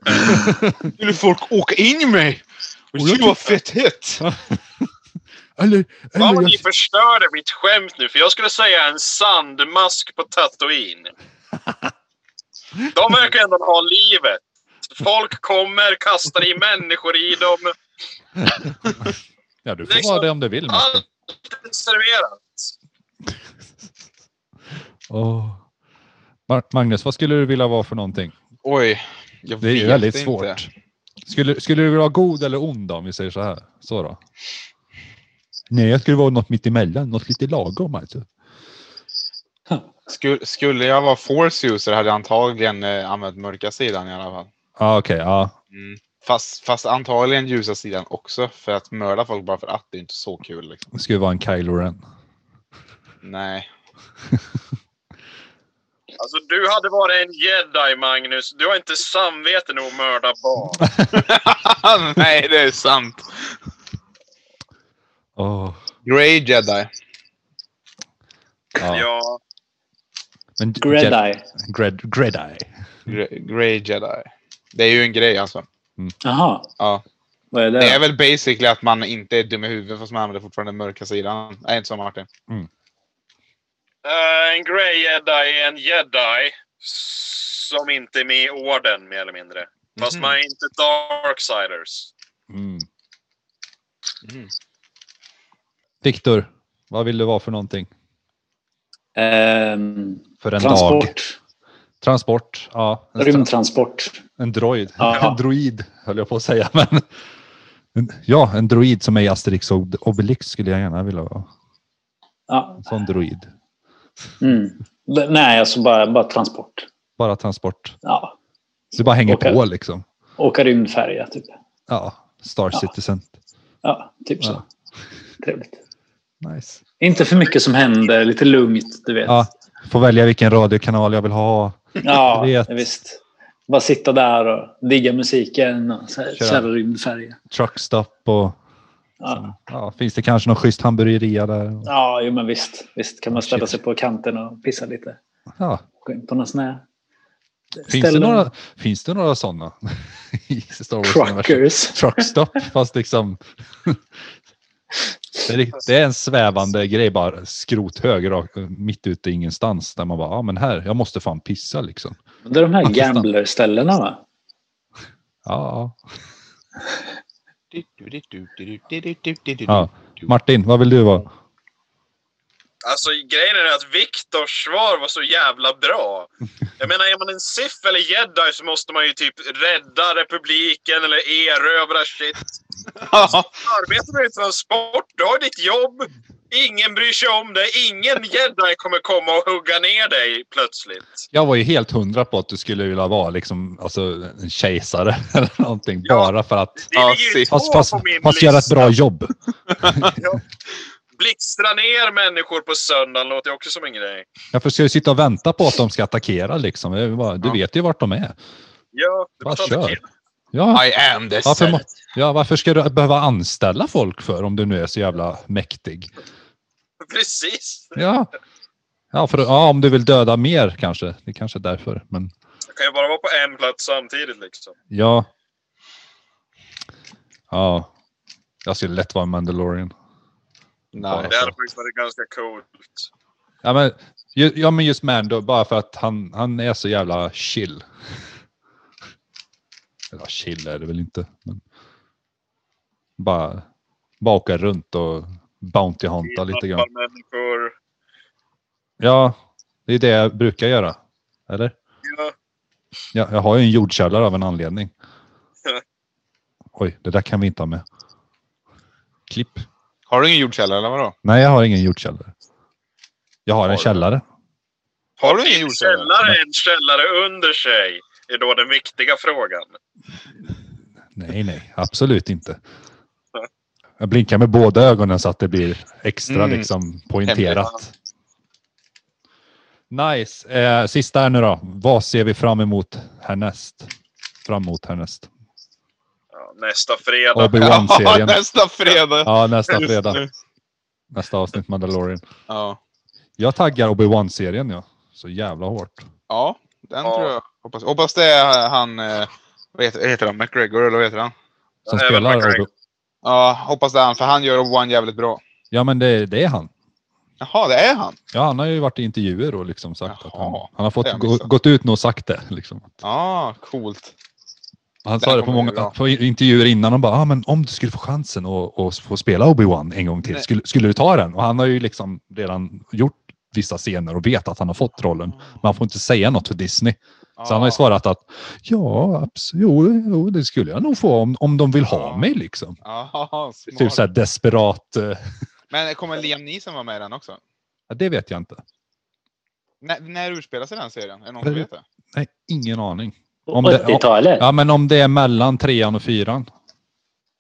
Skulle folk åka in i mig? Och det skulle vara fett hett!
eller,
Fan vad ni förstörde mitt skämt nu, för jag skulle säga en sandmask på Tatooine. De verkar ändå ha livet. Folk kommer, kastar i människor i dem.
Ja, du får
Liksom-
vara det om du vill. Martin.
Allt är serverat.
Åh. Ma- Magnus, vad skulle du vilja vara för någonting?
Oj, jag
Det är ju
vet
väldigt
inte.
svårt. Skulle, skulle du vilja vara god eller ond då, om vi säger så här? Så då? Nej, jag skulle vara något mitt emellan, något lite lagom alltså.
Skulle, skulle jag vara force user hade jag antagligen eh, använt mörka sidan i alla fall.
Ah, Okej, ja.
Mm. Fast, fast antagligen ljusa sidan också, för att mörda folk bara för att det är inte så kul. Liksom.
det skulle vara en Kylo Ren.
Nej.
Alltså du hade varit en jedi Magnus. Du har inte samvete nog att mörda barn.
Nej, det är sant.
Åh.
Grey Jedi.
Ja.
Ja.
Men Jedi.
Gredi.
Gred, Gredi.
Gre- Grey Jedi. Det är ju en grej alltså.
Jaha.
Ja.
Vad är det?
Det är väl basically att man inte är dum i huvudet fast man använder fortfarande den mörka sidan. Nej, inte så Martin.
Eh, en grey jedi är en jedi som inte är med i orden mer eller mindre. Fast
Mhm.
man är inte darksiders.
Mm.
Mhm.
Viktor, vad vill du vara för någonting?
Ehm,
För en dag?
transport.
Transport. Ja. En stra-
Rymdtransport.
En droid.
Ja.
En droid höll jag på att säga. Men... En, ja, en droid som är i Asterix och Obelix skulle jag gärna vilja vara.
Ja.
En sån droid.
Mm. D- Nej, alltså bara, bara transport.
Bara transport.
Ja.
Så det bara hänger
Okej.
på liksom.
Åka rymdfärja, typ.
Ja, Star
Ja.
Citizen.
Ja, typ så.
Ja.
Trevligt.
Nice.
Inte för mycket som händer, lite lugnt, du vet.
Ja, får välja vilken radiokanal jag vill ha.
Ja,
Jag vet.
visst. Bara sitta där och digga musiken och så här,
Köra.
köra rymdfärja.
Truckstop och
Ja.
ja, finns det kanske någon schysst hamburgeria där?
ja, jo men visst. Visst kan man ställa sig på kanten och pissa lite.
Ja.
Gå in på någon sån här...
Finns, det
ställe.
några, finns det några sådana? I Star Wars universum?
Truckers.
truckstop fast liksom. Det är, rikt- det är en svävande grej bara, skrothög rakt- mitt ute i ingenstans där man bara, ja ah, men här, jag måste fan pissa liksom.
Det är de här
Attestan.
gamblerställena va?
Ja.
Ja, ja. Martin, vad vill du vara?
Alltså grejen är att Viktors svar var så jävla bra. Jag menar, är man en Sith eller jedi så måste man ju typ rädda republiken eller erövra shit. Arbetar du i transport, du har ditt jobb. Ingen bryr sig om dig. Ingen jedi kommer komma och hugga ner dig plötsligt.
Jag var ju helt hundra på att du skulle vilja vara liksom, alltså en kejsare eller någonting,
Ja.
bara för att,
Det
Ja,
ligger ju
Sith.
två
fast, fast,
på min
fast
lista.
göra ett bra jobb.
Blixtra ner människor på söndagen låter ju också som en grej.
Jag försöker ju sitta och vänta på att de ska attackera liksom. Jag bara, Du
Ja.
vet ju vart de är.
Ja, det
Bara
var
kör.
tråkigt.
Ja,
I am the
Varför,
Sith.
må- ja, varför ska du behöva anställa folk för om du nu är så jävla mäktig?
Precis.
Ja, ja, för, ja om du vill döda mer kanske. Det kanske är därför. Men
Jag kan ju bara vara på en plats samtidigt liksom.
ja. Ja, jag skulle lätt vara en Mandalorian.
Nej.
Det hade faktiskt varit ganska coolt.
Ja, men, ju- ja, men just Mando, bara för att han, han är så jävla chill. Eller chill är det väl inte. Men bara, bara åka runt och bounty hunta lite grann.
Tappar människor.
Ja, det är det jag brukar göra. Eller?
Ja.
Ja, jag har ju en jordkällare av en anledning.
Ja.
Oj, det där kan vi inte ha med. Klipp.
Har du ingen jordkällare eller vadå?
Nej, jag har ingen jordkällare. Jag har en
Har du?
källare.
Har du ingen
Din
jordkällare?
källare är en källare under sig. Är då den viktiga frågan.
Nej, nej, absolut inte. Jag blinkar med båda ögonen så att det blir extra
Mm.
liksom poängterat. Nice. Eh, sista här nu då. Vad ser vi fram emot härnäst? Fram emot härnäst.
Ja, nästa fredag.
Obi-Wan-serien.
nästa fredag.
Ja, nästa fredag.
nu.
Nästa avsnitt Mandalorian.
Ja.
Jag taggar Obi-Wan-serien ja. Så jävla hårt.
Ja, den
Ja.
tror jag. Hoppas, hoppas det är han... eh, Vad heter, heter han? McGregor eller vad heter han?
Som
Även
spelar
McGregor.
Obi-
Ja, hoppas det är han. För han gör Obi-Wan jävligt bra.
Ja, men det, det är han.
Jaha, det är han?
Ja, han har ju varit i intervjuer och liksom sagt att han,
Jaha,
han har
det
fått
har jag
gå,
missat.
gått ut nu och sagt det. Liksom.
Ja, coolt.
Han
Den
sa det på,
kommer bli
många,
bra.
på intervjuer innan och bara, ah, men om du skulle få chansen att att få spela Obi-Wan en gång till,
Nej.
skulle, skulle du ta den? Och han har ju liksom redan gjort vissa scener och vet att han har fått rollen. Men han får inte säga något till Disney. Så han har ju svarat att ja, absolut, jo, jo, det skulle jag nog få om, om de vill ha
Ja.
mig liksom.
Ja, smart.
Typ så här desperat. eh,
Men kommer Liam Neeson vara med i den också?
Ja, det vet jag inte.
När, när utspelar sig den serien? Är det någon som
Väl-
vet det?
Nej, ingen aning. Om det-
80-talet?
Ja, men om det är mellan trean och fyran.
Om det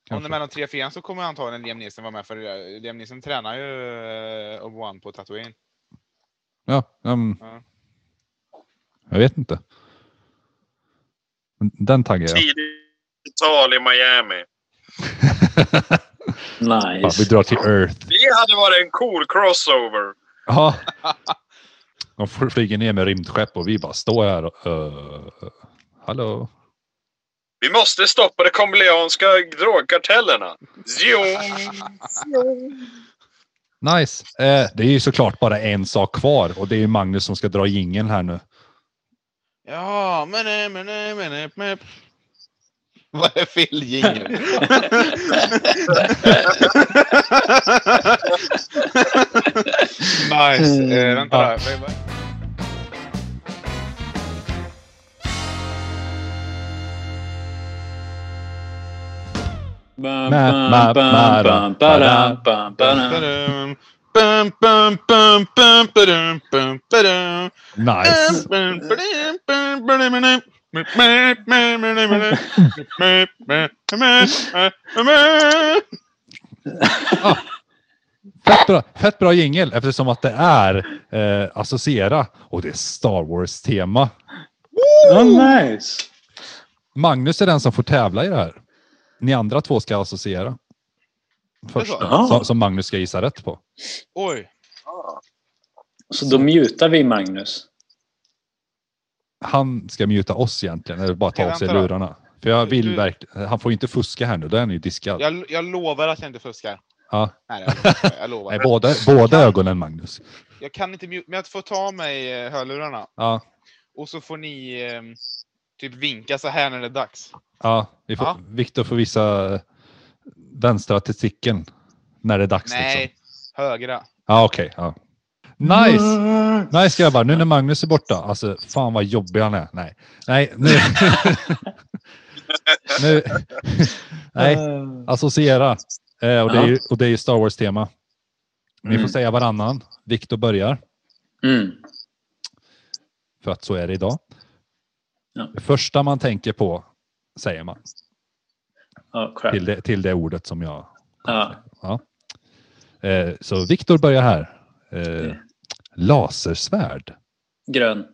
Kanske.
är mellan 3 och 4 så kommer antagligen Liam Neeson vara med för eh, Liam Neeson tränar ju eh, Obi-Wan på Tatooine.
Ja, ehm,
Ja.
Jag vet inte. Men Den taggar jag.
Tidigt tal i Miami.
Ja, vi
Nice.
drar till Earth.
Det hade varit en cool crossover.
Ja. De fl- flyger ner med rymdskepp och vi bara står här och... eh, hallå?
Vi måste stoppa de kombileanska drogkartellerna. Jo.
Nice. Eh, det är ju såklart bara en sak kvar och det är ju Magnus som ska dra jingeln här nu.
Ja, men eh, men eh, men eh, men. Vad är fel jingel? nice. Eh, vänta
Ja.
där. Vad- vad-
Bam,
Ma-
bam,
ma-
bam,
ma-
bam,
ra-
ba-dam, bam, ba-dam.
Ba-dum. Bum, bum, bum, bum, ba-dum, bum, ba-dum.
Nice.
Ehm.
Fett bra, fett bra jingel eftersom att det är eh, associera och det är Star Wars-tema.
Ja, nice.
Magnus är den som får tävla i det här. Ni andra två ska associera. Första,
Jaha.
som, som Magnus ska gissa rätt på.
Oj.
Så då mutar vi Magnus.
Han ska muta oss egentligen, eller bara ta
Okej,
av sig
vänta då.
lurarna. För jag
Du-
vill
du-
verkligen... Han får ju inte fuska här nu, då är han ju diskad.
Jag, jag lovar att jag inte fuskar.
Ja.
Nej, jag lovar. Jag, lovar.
Nej, båda, båda ögonen, Magnus.
jag kan inte mute, men jag får ta av mig eh, hörlurarna.
Ja,
Och så får ni eh, typ vinka så här när det är dags.
ja, vi får,
Ja.
Viktor får visa eh, vänstra testikeln när det är dags. Liksom.
Nej, högra.
Ja, okej. ja. Nice! Nice grabbar, nu när Magnus är borta, alltså fan vad jobbig han är. Nej, nej, nu... nu... nej,
Eh,
associera. Eh, och, det är ju,
Ja.
och det är ju Star Wars-tema. Ni får
Mm.
säga varannan. Viktor börjar,
Mm.
för att så är det idag.
Ja.
Det första man tänker på säger man
Ja, crap.
till det, till det ordet som jag...
Ja.
Eh, så Viktor börjar här. Eh,
Mm.
lasersvärd.
Grön.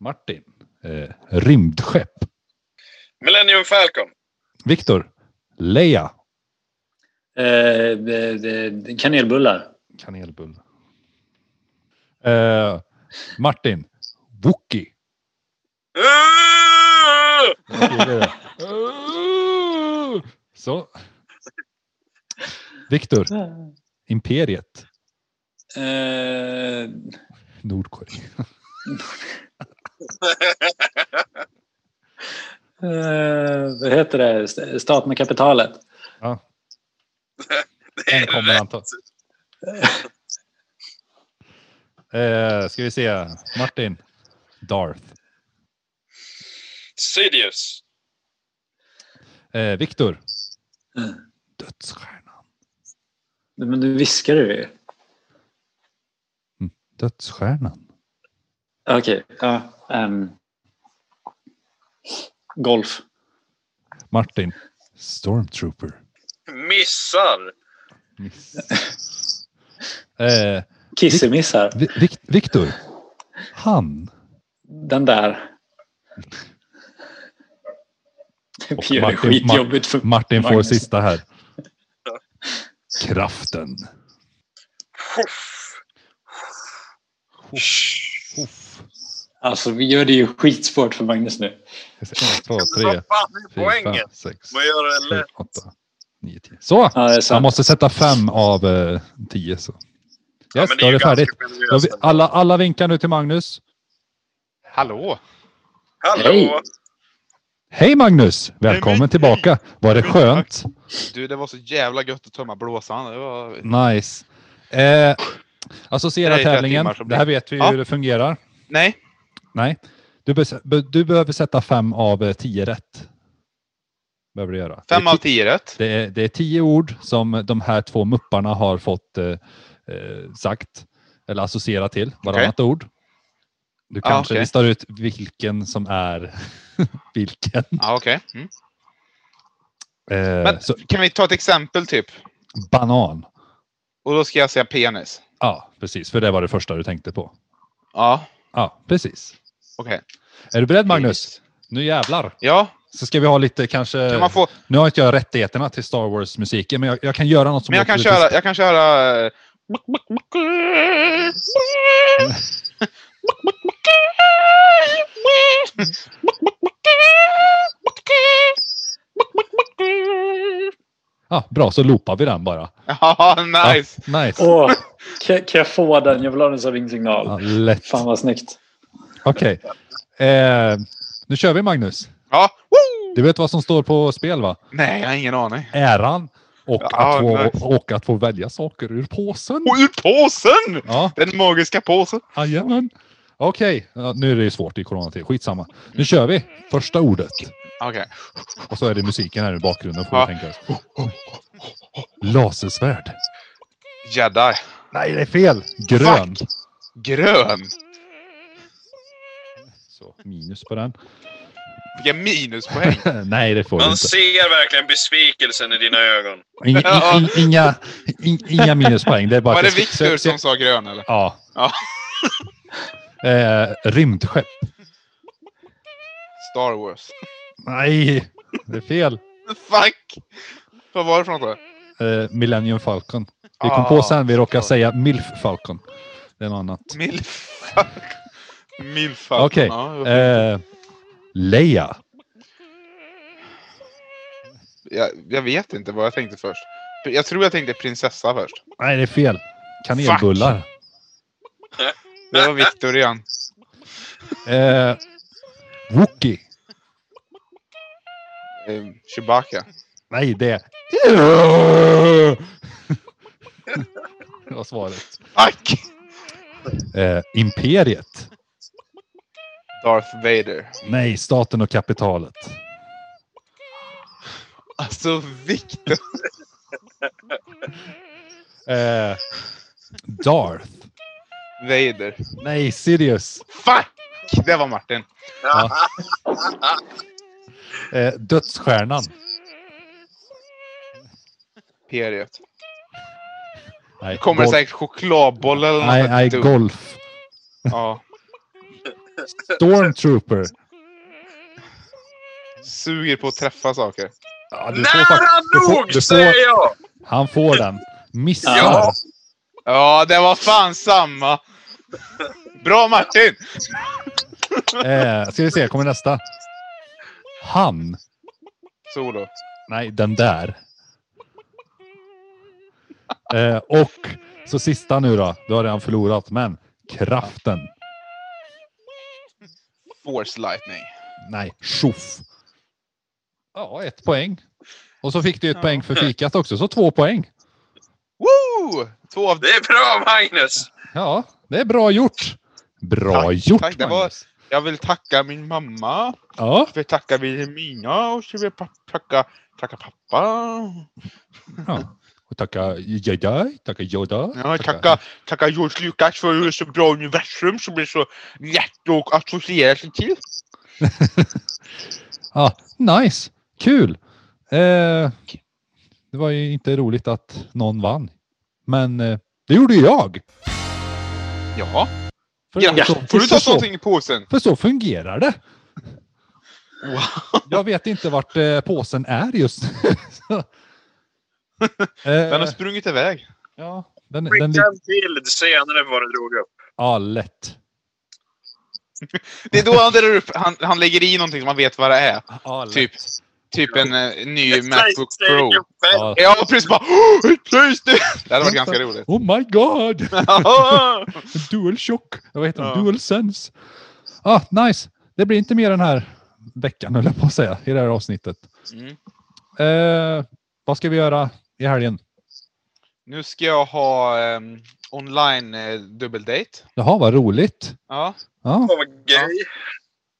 Martin. Eh, rymdskepp.
Millennium Falcon.
Viktor. Leia.
Eh, de- de- kanelbullar.
Kanelbulle. Eh, Martin. Wookie.
Ah!
Så. Viktor. Imperiet.
Eh,
Nordkorea.
eh, vad heter det? St- Stat med kapitalet.
Den kommer han ta. Eh, ska vi se. Martin. Darth.
Sidious.
Eh, Viktor.
Mm.
Dödsstjärnan.
Men du viskar du ju.
Dödsstjärnan.
Okej. ja, ehm. golf.
Martin. Stormtrooper.
Missar.
Miss. Eh,
Kissemiss här.
Vi- Vik- Viktor. Han.
Den där. Det
Och
blir
Martin-
skitjobbigt för
Martin får
Magnus.
sista här. Kraften.
Puff.
Uff.
Alltså vi gör det ju skitsvårt för Magnus nu.
En, två, tre,
Vad fan är
fyra,
poängen?
fem, sex,
Vad gör det
sju,
lätt?
åtta, nio, tio. Så!
Ja, det är
Man
sant.
måste sätta fem av eh, tio. Så. Yes,
men
då är
ju
det färdigt.
ganska
Då har vi- Ah,
generöst.
Alla, alla vinkar nu till Magnus.
Hallå!
Hallå!
Hej Magnus! Välkommen
Nej, men-
tillbaka. Var det
Men
skönt?
Du, det var så jävla gött att tömma blåsan. Det var...
Mm. Nice. Eh, associera
Det är flera
tävlingen.
timmar som
Det här
blir-
vet vi ju
Ja.
hur det fungerar.
Nej,
Nej. Du, bes- be- du behöver sätta fem av eh, tio rätt. Behöver du göra.
fem
Det är
av
ti-
tio rätt.
Det är, det är tio ord som de här två mupparna har fått eh, eh, sagt eller associera till varannat ord. Du
Ah,
kanske
okej.
listar ut vilken som är vilken.
Ja, okej. Mm.
Eh,
Men-
så,
Kan vi ta ett exempel typ?
banan.
Och då ska jag säga penis.
Ja, precis. För det var det första du tänkte på.
Ja,
Ja, precis.
okej.
Är du beredd Magnus? Nu jävlar.
Ja,
Så ska vi ha lite kanske...
kan man få...
Nu har inte jag rättigheterna till Star Wars-musiken, men jag, jag kan göra något som...
Men jag kan
låter lite
köra... Jag kan köra... eh, eh, eh,
Ja, bra, så loopar vi den bara.
Ja, nice!
Ja, nice.
Åh, kan, kan jag få den? Jag vill ha den som ringsignal.
Ja, lätt.
Fan vad snyggt.
Okej. Eh, nu kör vi Magnus.
Ja. Woo!
Du vet vad som står på spel va?
Nej, jag har ingen aning.
Äran och,
Ja,
att, få,
nice.
och att få välja saker ur påsen.
Och ur påsen!
Ja,
Den magiska påsen.
jajamän. Okej, ja, nu är det ju svårt i coronatid. Skitsamma. Nu kör vi. Första ordet.
Okej.
Och så är det musiken här i bakgrunden. Får
Ja.
vi tänka oss. Lasersvärd.
Jedi.
Nej, det är fel. Grön.
Grön.
Så, minus på den.
Vilka minuspoäng.
Nej, det får du
Man
inte.
ser verkligen besvikelsen i dina ögon.
Inga, in- in- inga, in- inga minuspoäng. Det är bara
Var
att
det
jag ska-
Viktor som sa grön eller?
Ja.
Ja.
eh, rymdskepp.
Star Wars.
Nej, det är fel.
Fuck! Vad var det för något då?
Eh, Millennium Falcon. Vi kom
Ah,
på sen, vi råkade
såklart.
säga Milf Falcon. Det är något annat.
Milf. Milf.
Okej.
Ja, jag-
Eh, Leia.
jag, jag vet inte vad jag tänkte först. Jag tror jag tänkte prinsessa först.
Nej, det är fel. Kanelbullar.
Det var Viktor igen.
Eh, Wookie.
Eh, Chewbacca.
Nej, det är... det var svaret.
Fuck!
Eh, Imperiet.
Darth Vader.
Nej, staten och kapitalet.
Alltså Viktor.
Eh, Darth.
Vader.
Nej, Sirius.
Fuck! Det var Martin.
Eh, dödsstjärnan.
Period.
Nej,
Kommer
gol-
säkert chokladboll eller något.
Nej, nej,
dumt.
golf.
Ja.
Stormtrooper.
Suger på att träffa saker.
Ja, du får
Nära
fakt- du får-
nog
du får-
säger jag!
Han får den. Missar.
Ja.
Ja, det var fan samma. Bra Martin!
Eh, ska vi se, kommer nästa. Han.
Solo.
Nej, den där. Eh, och så sista nu då. Du har redan förlorat, men kraften.
Force lightning.
Nej, tjoff. Ja, ett poäng. Och så fick du ett
Ja.
poäng för fikat också, så två poäng.
Woo! Två av
Det är bra Magnus!
Ja, det är bra gjort. Bra
Tack,
gjort
tack, det var-
Magnus.
Jag vill tacka min mamma.
Ja,
Jag vill tacka Vilhelmina och så vill jag pa- tacka, tacka pappa.
ja. Och tacka Jedi, tacka Yoda.
Ja, tacka, tacka George Lucas för så bra universum som är så lätt att associera sig till.
Ja, nice, kul. Eh, det var ju inte roligt att någon vann, men eh, det gjorde ju jag.
Ja,
För,
ja.
så,
får du ta
för, så,
någonting i påsen?
för så fungerar det.
Wow.
Jag vet inte vart eh, påsen är just nu. Eh, Så.
Den har
eh,
sprungit iväg.
ja, den, den,
Skicka
lig-
en bild senare vad du drog upp.
ja, lätt.
Det är då han drar upp, han, han lägger i någonting som man vet vad det är.
Ja, lätt.
Typ, typ en eh, ny
Ett
Macbook Pro.
PlayStation fem.
Ja.
Ja, och precis bara "Åh, ett Playstation! Det hade varit ganska roligt.
Oh my god! DualShock. Vad heter
Ja.
den? DualSense. Ah, nice. Det blir inte mer den här veckan, höll jag på att säga, i det här avsnittet.
Mm.
Eh, vad ska vi göra i helgen?
Nu ska jag ha ehm, online eh, dubbeldate.
Jaha, vad roligt.
Ja.
Ja.
Åh, vad gay.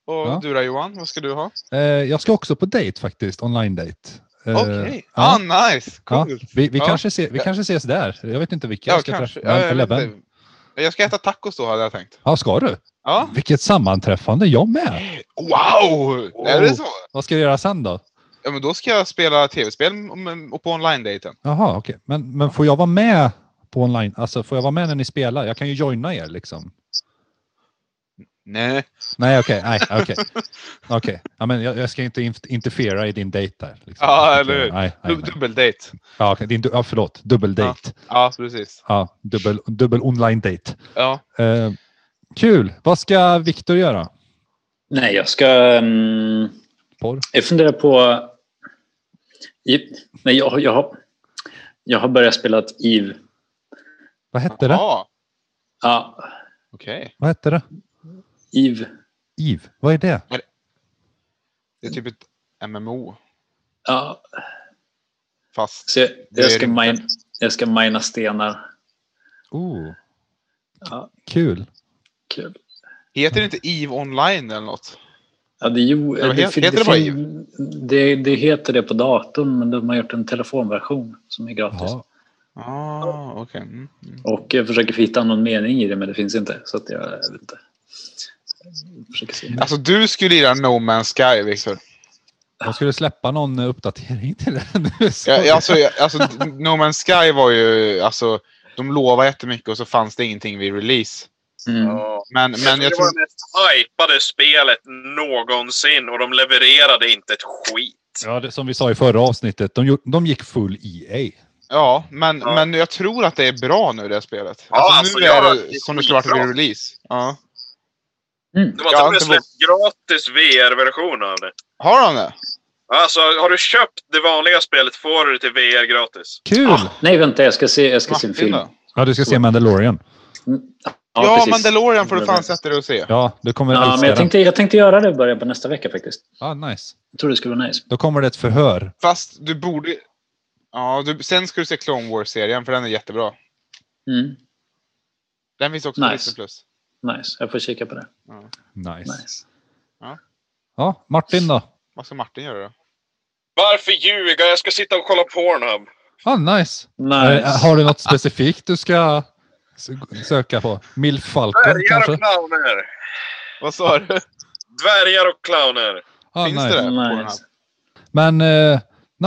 Och
Ja.
du då Johan, vad ska du ha?
Eh, jag ska också på dejt faktiskt, online-dejt. Eh,
Okej.
ja.
Ah, nice!
Ja,
Coolt!
vi vi,
Ja.
kanske se, vi kanske ses där. Jag vet inte vilka
Ja,
jag ska
kanske.
träffa.
Ja, jag,
Men,
vet
eller vem.
inte. jag ska äta tacos då hade jag tänkt.
Ja, ska du?
Ja.
Vilket sammanträffande, jag med.
Wow! Är
Oh.
det så?
Vad ska du göra sen då?
Ja, men då ska jag spela tv-spel om- och på online-dejten.
Jaha, okej. Men, men får jag vara med på online? Alltså, får jag vara med när ni spelar? Jag kan ju joina er liksom.
Nej.
Nej, okej. nej, okej. Okej. Ja, men jag, jag ska inte inf- interfera i din dejt där. Liksom.
Ja, eller hur?
Nej, nej,
Du-
nej.
Dubbeldejt.
Ja, okej, din, du- ja, förlåt. Dubbeldejt.
Ja, precis.
Ja, dubbel, dubbel online-dejt.
Ja.
Eh, kul! Vad ska Viktor göra?
Nej, jag ska... ehm,
Porr?
Jag funderar på... I, nej, jag, har- jag, har, jag har börjat spela ett EVE.
Vad hette det?
Ja,
Ja,
okej.
Vad hette det?
EVE.
Eve? Vad är det?
Det är typ ett MMO.
Ja,
Fast...
så jag,
Det är
jag, ska
rymden.
mine, jag ska mina stenar.
Oh.
Ja.
Kul!
Kul.
Heter det inte EVE Online eller något?
Ja, det, jo,
Eller heter- heter det bara
fin- det, det heter det på datorn, men de har gjort en telefonversion som är gratis.
Jaha.
Ah, okej. Mm. mm.
Och jag försöker hitta någon mening i det, men det finns inte. Så att jag, jag vet inte. Jag försöker se.
Alltså du skulle lira No Man's Sky, Victor.
Jag skulle släppa någon eh, uppdatering till det nu. så-
Ja, ja, alltså, ja, alltså, no Man's Sky var ju... Alltså, de lovade jättemycket och så fanns det ingenting vid release.
Mm.
Ja.
Men, men jag
det
tror...
var det mest hypade spelet någonsin och de levererade inte ett skit.
Ja, det, som vi sa i förra avsnittet, de, gjorde, de gick full E EA.
Ja, men,
Ja.
men jag tror att det är bra nu det här spelet.
Ja,
alltså,
alltså,
nu
jag-
är
det är
det som det skulle varit vid
skitbra.
release. Ja.
De har
Ja,
till och med
det var-
släppt gratis VR-version av det.
Har de det?
Alltså, har du köpt det vanliga spelet får du det till VR gratis.
Kul!
Ah.
Nej, vänta, jag ska se, jag ska se en
Martin
film.
då?
Ja,
Ja, du ska se Mandalorian.
Ja,
precis.
Mandalorian får du fan sätta dig och se.
Ja, du kommer
Ja,
älska
men jag
den.
tänkte, jag tänkte göra det i början på nästa vecka faktiskt.
Ah, nice.
Jag tror det skulle vara nice.
Då kommer det ett förhör.
Fast du borde... Ja, du... sen ska du se Clone Wars-serien för den är jättebra.
Mm,
Den finns också på
Nice.
Disney+. Plus.
nice, jag får kika på det.
Nice.
Nice.
Ja, Martin då?
Vad ska Martin göra då?
Varför ljuga? Jag ska sitta och kolla Pornhub.
Ah, nice. Eh,
nice.
har du något specifikt du ska s- söka på? Milf Falcon
Dvärgar
kanske?
och clowner!
Vad sa du?
Dvärgar och clowner!
Ah,
Finns
nice.
det på den här?
nice.
Men eh,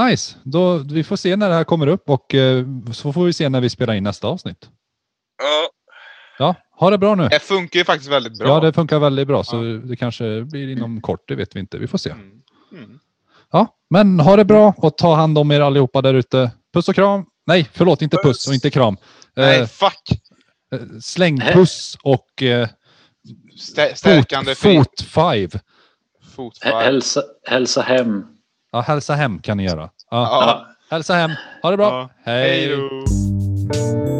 nice, då, vi får se när det här kommer upp och eh, så får vi se när vi spelar in nästa avsnitt.
Ja,
Ja, ha det bra nu.
Det funkar ju faktiskt väldigt bra.
Ja, det funkar väldigt bra så det kanske blir inom kort, det vet vi inte. Vi får se.
Mm. Mm.
Ja, men ha det bra och ta hand om er allihopa där ute. Puss och kram. Nej, förlåt, inte puss och inte kram.
Nej,
Eh,
fuck!
eh, släng puss och eh,
Stä- stärkande
fot,
fot.
fot five.
Hä-
fotboll.
Hälsa, hälsa hem.
Ja, hälsa hem kan ni göra. Ja,
Ja.
Ja.
Hälsa hem. Ha det bra.
Ja. Hej då!
Hej.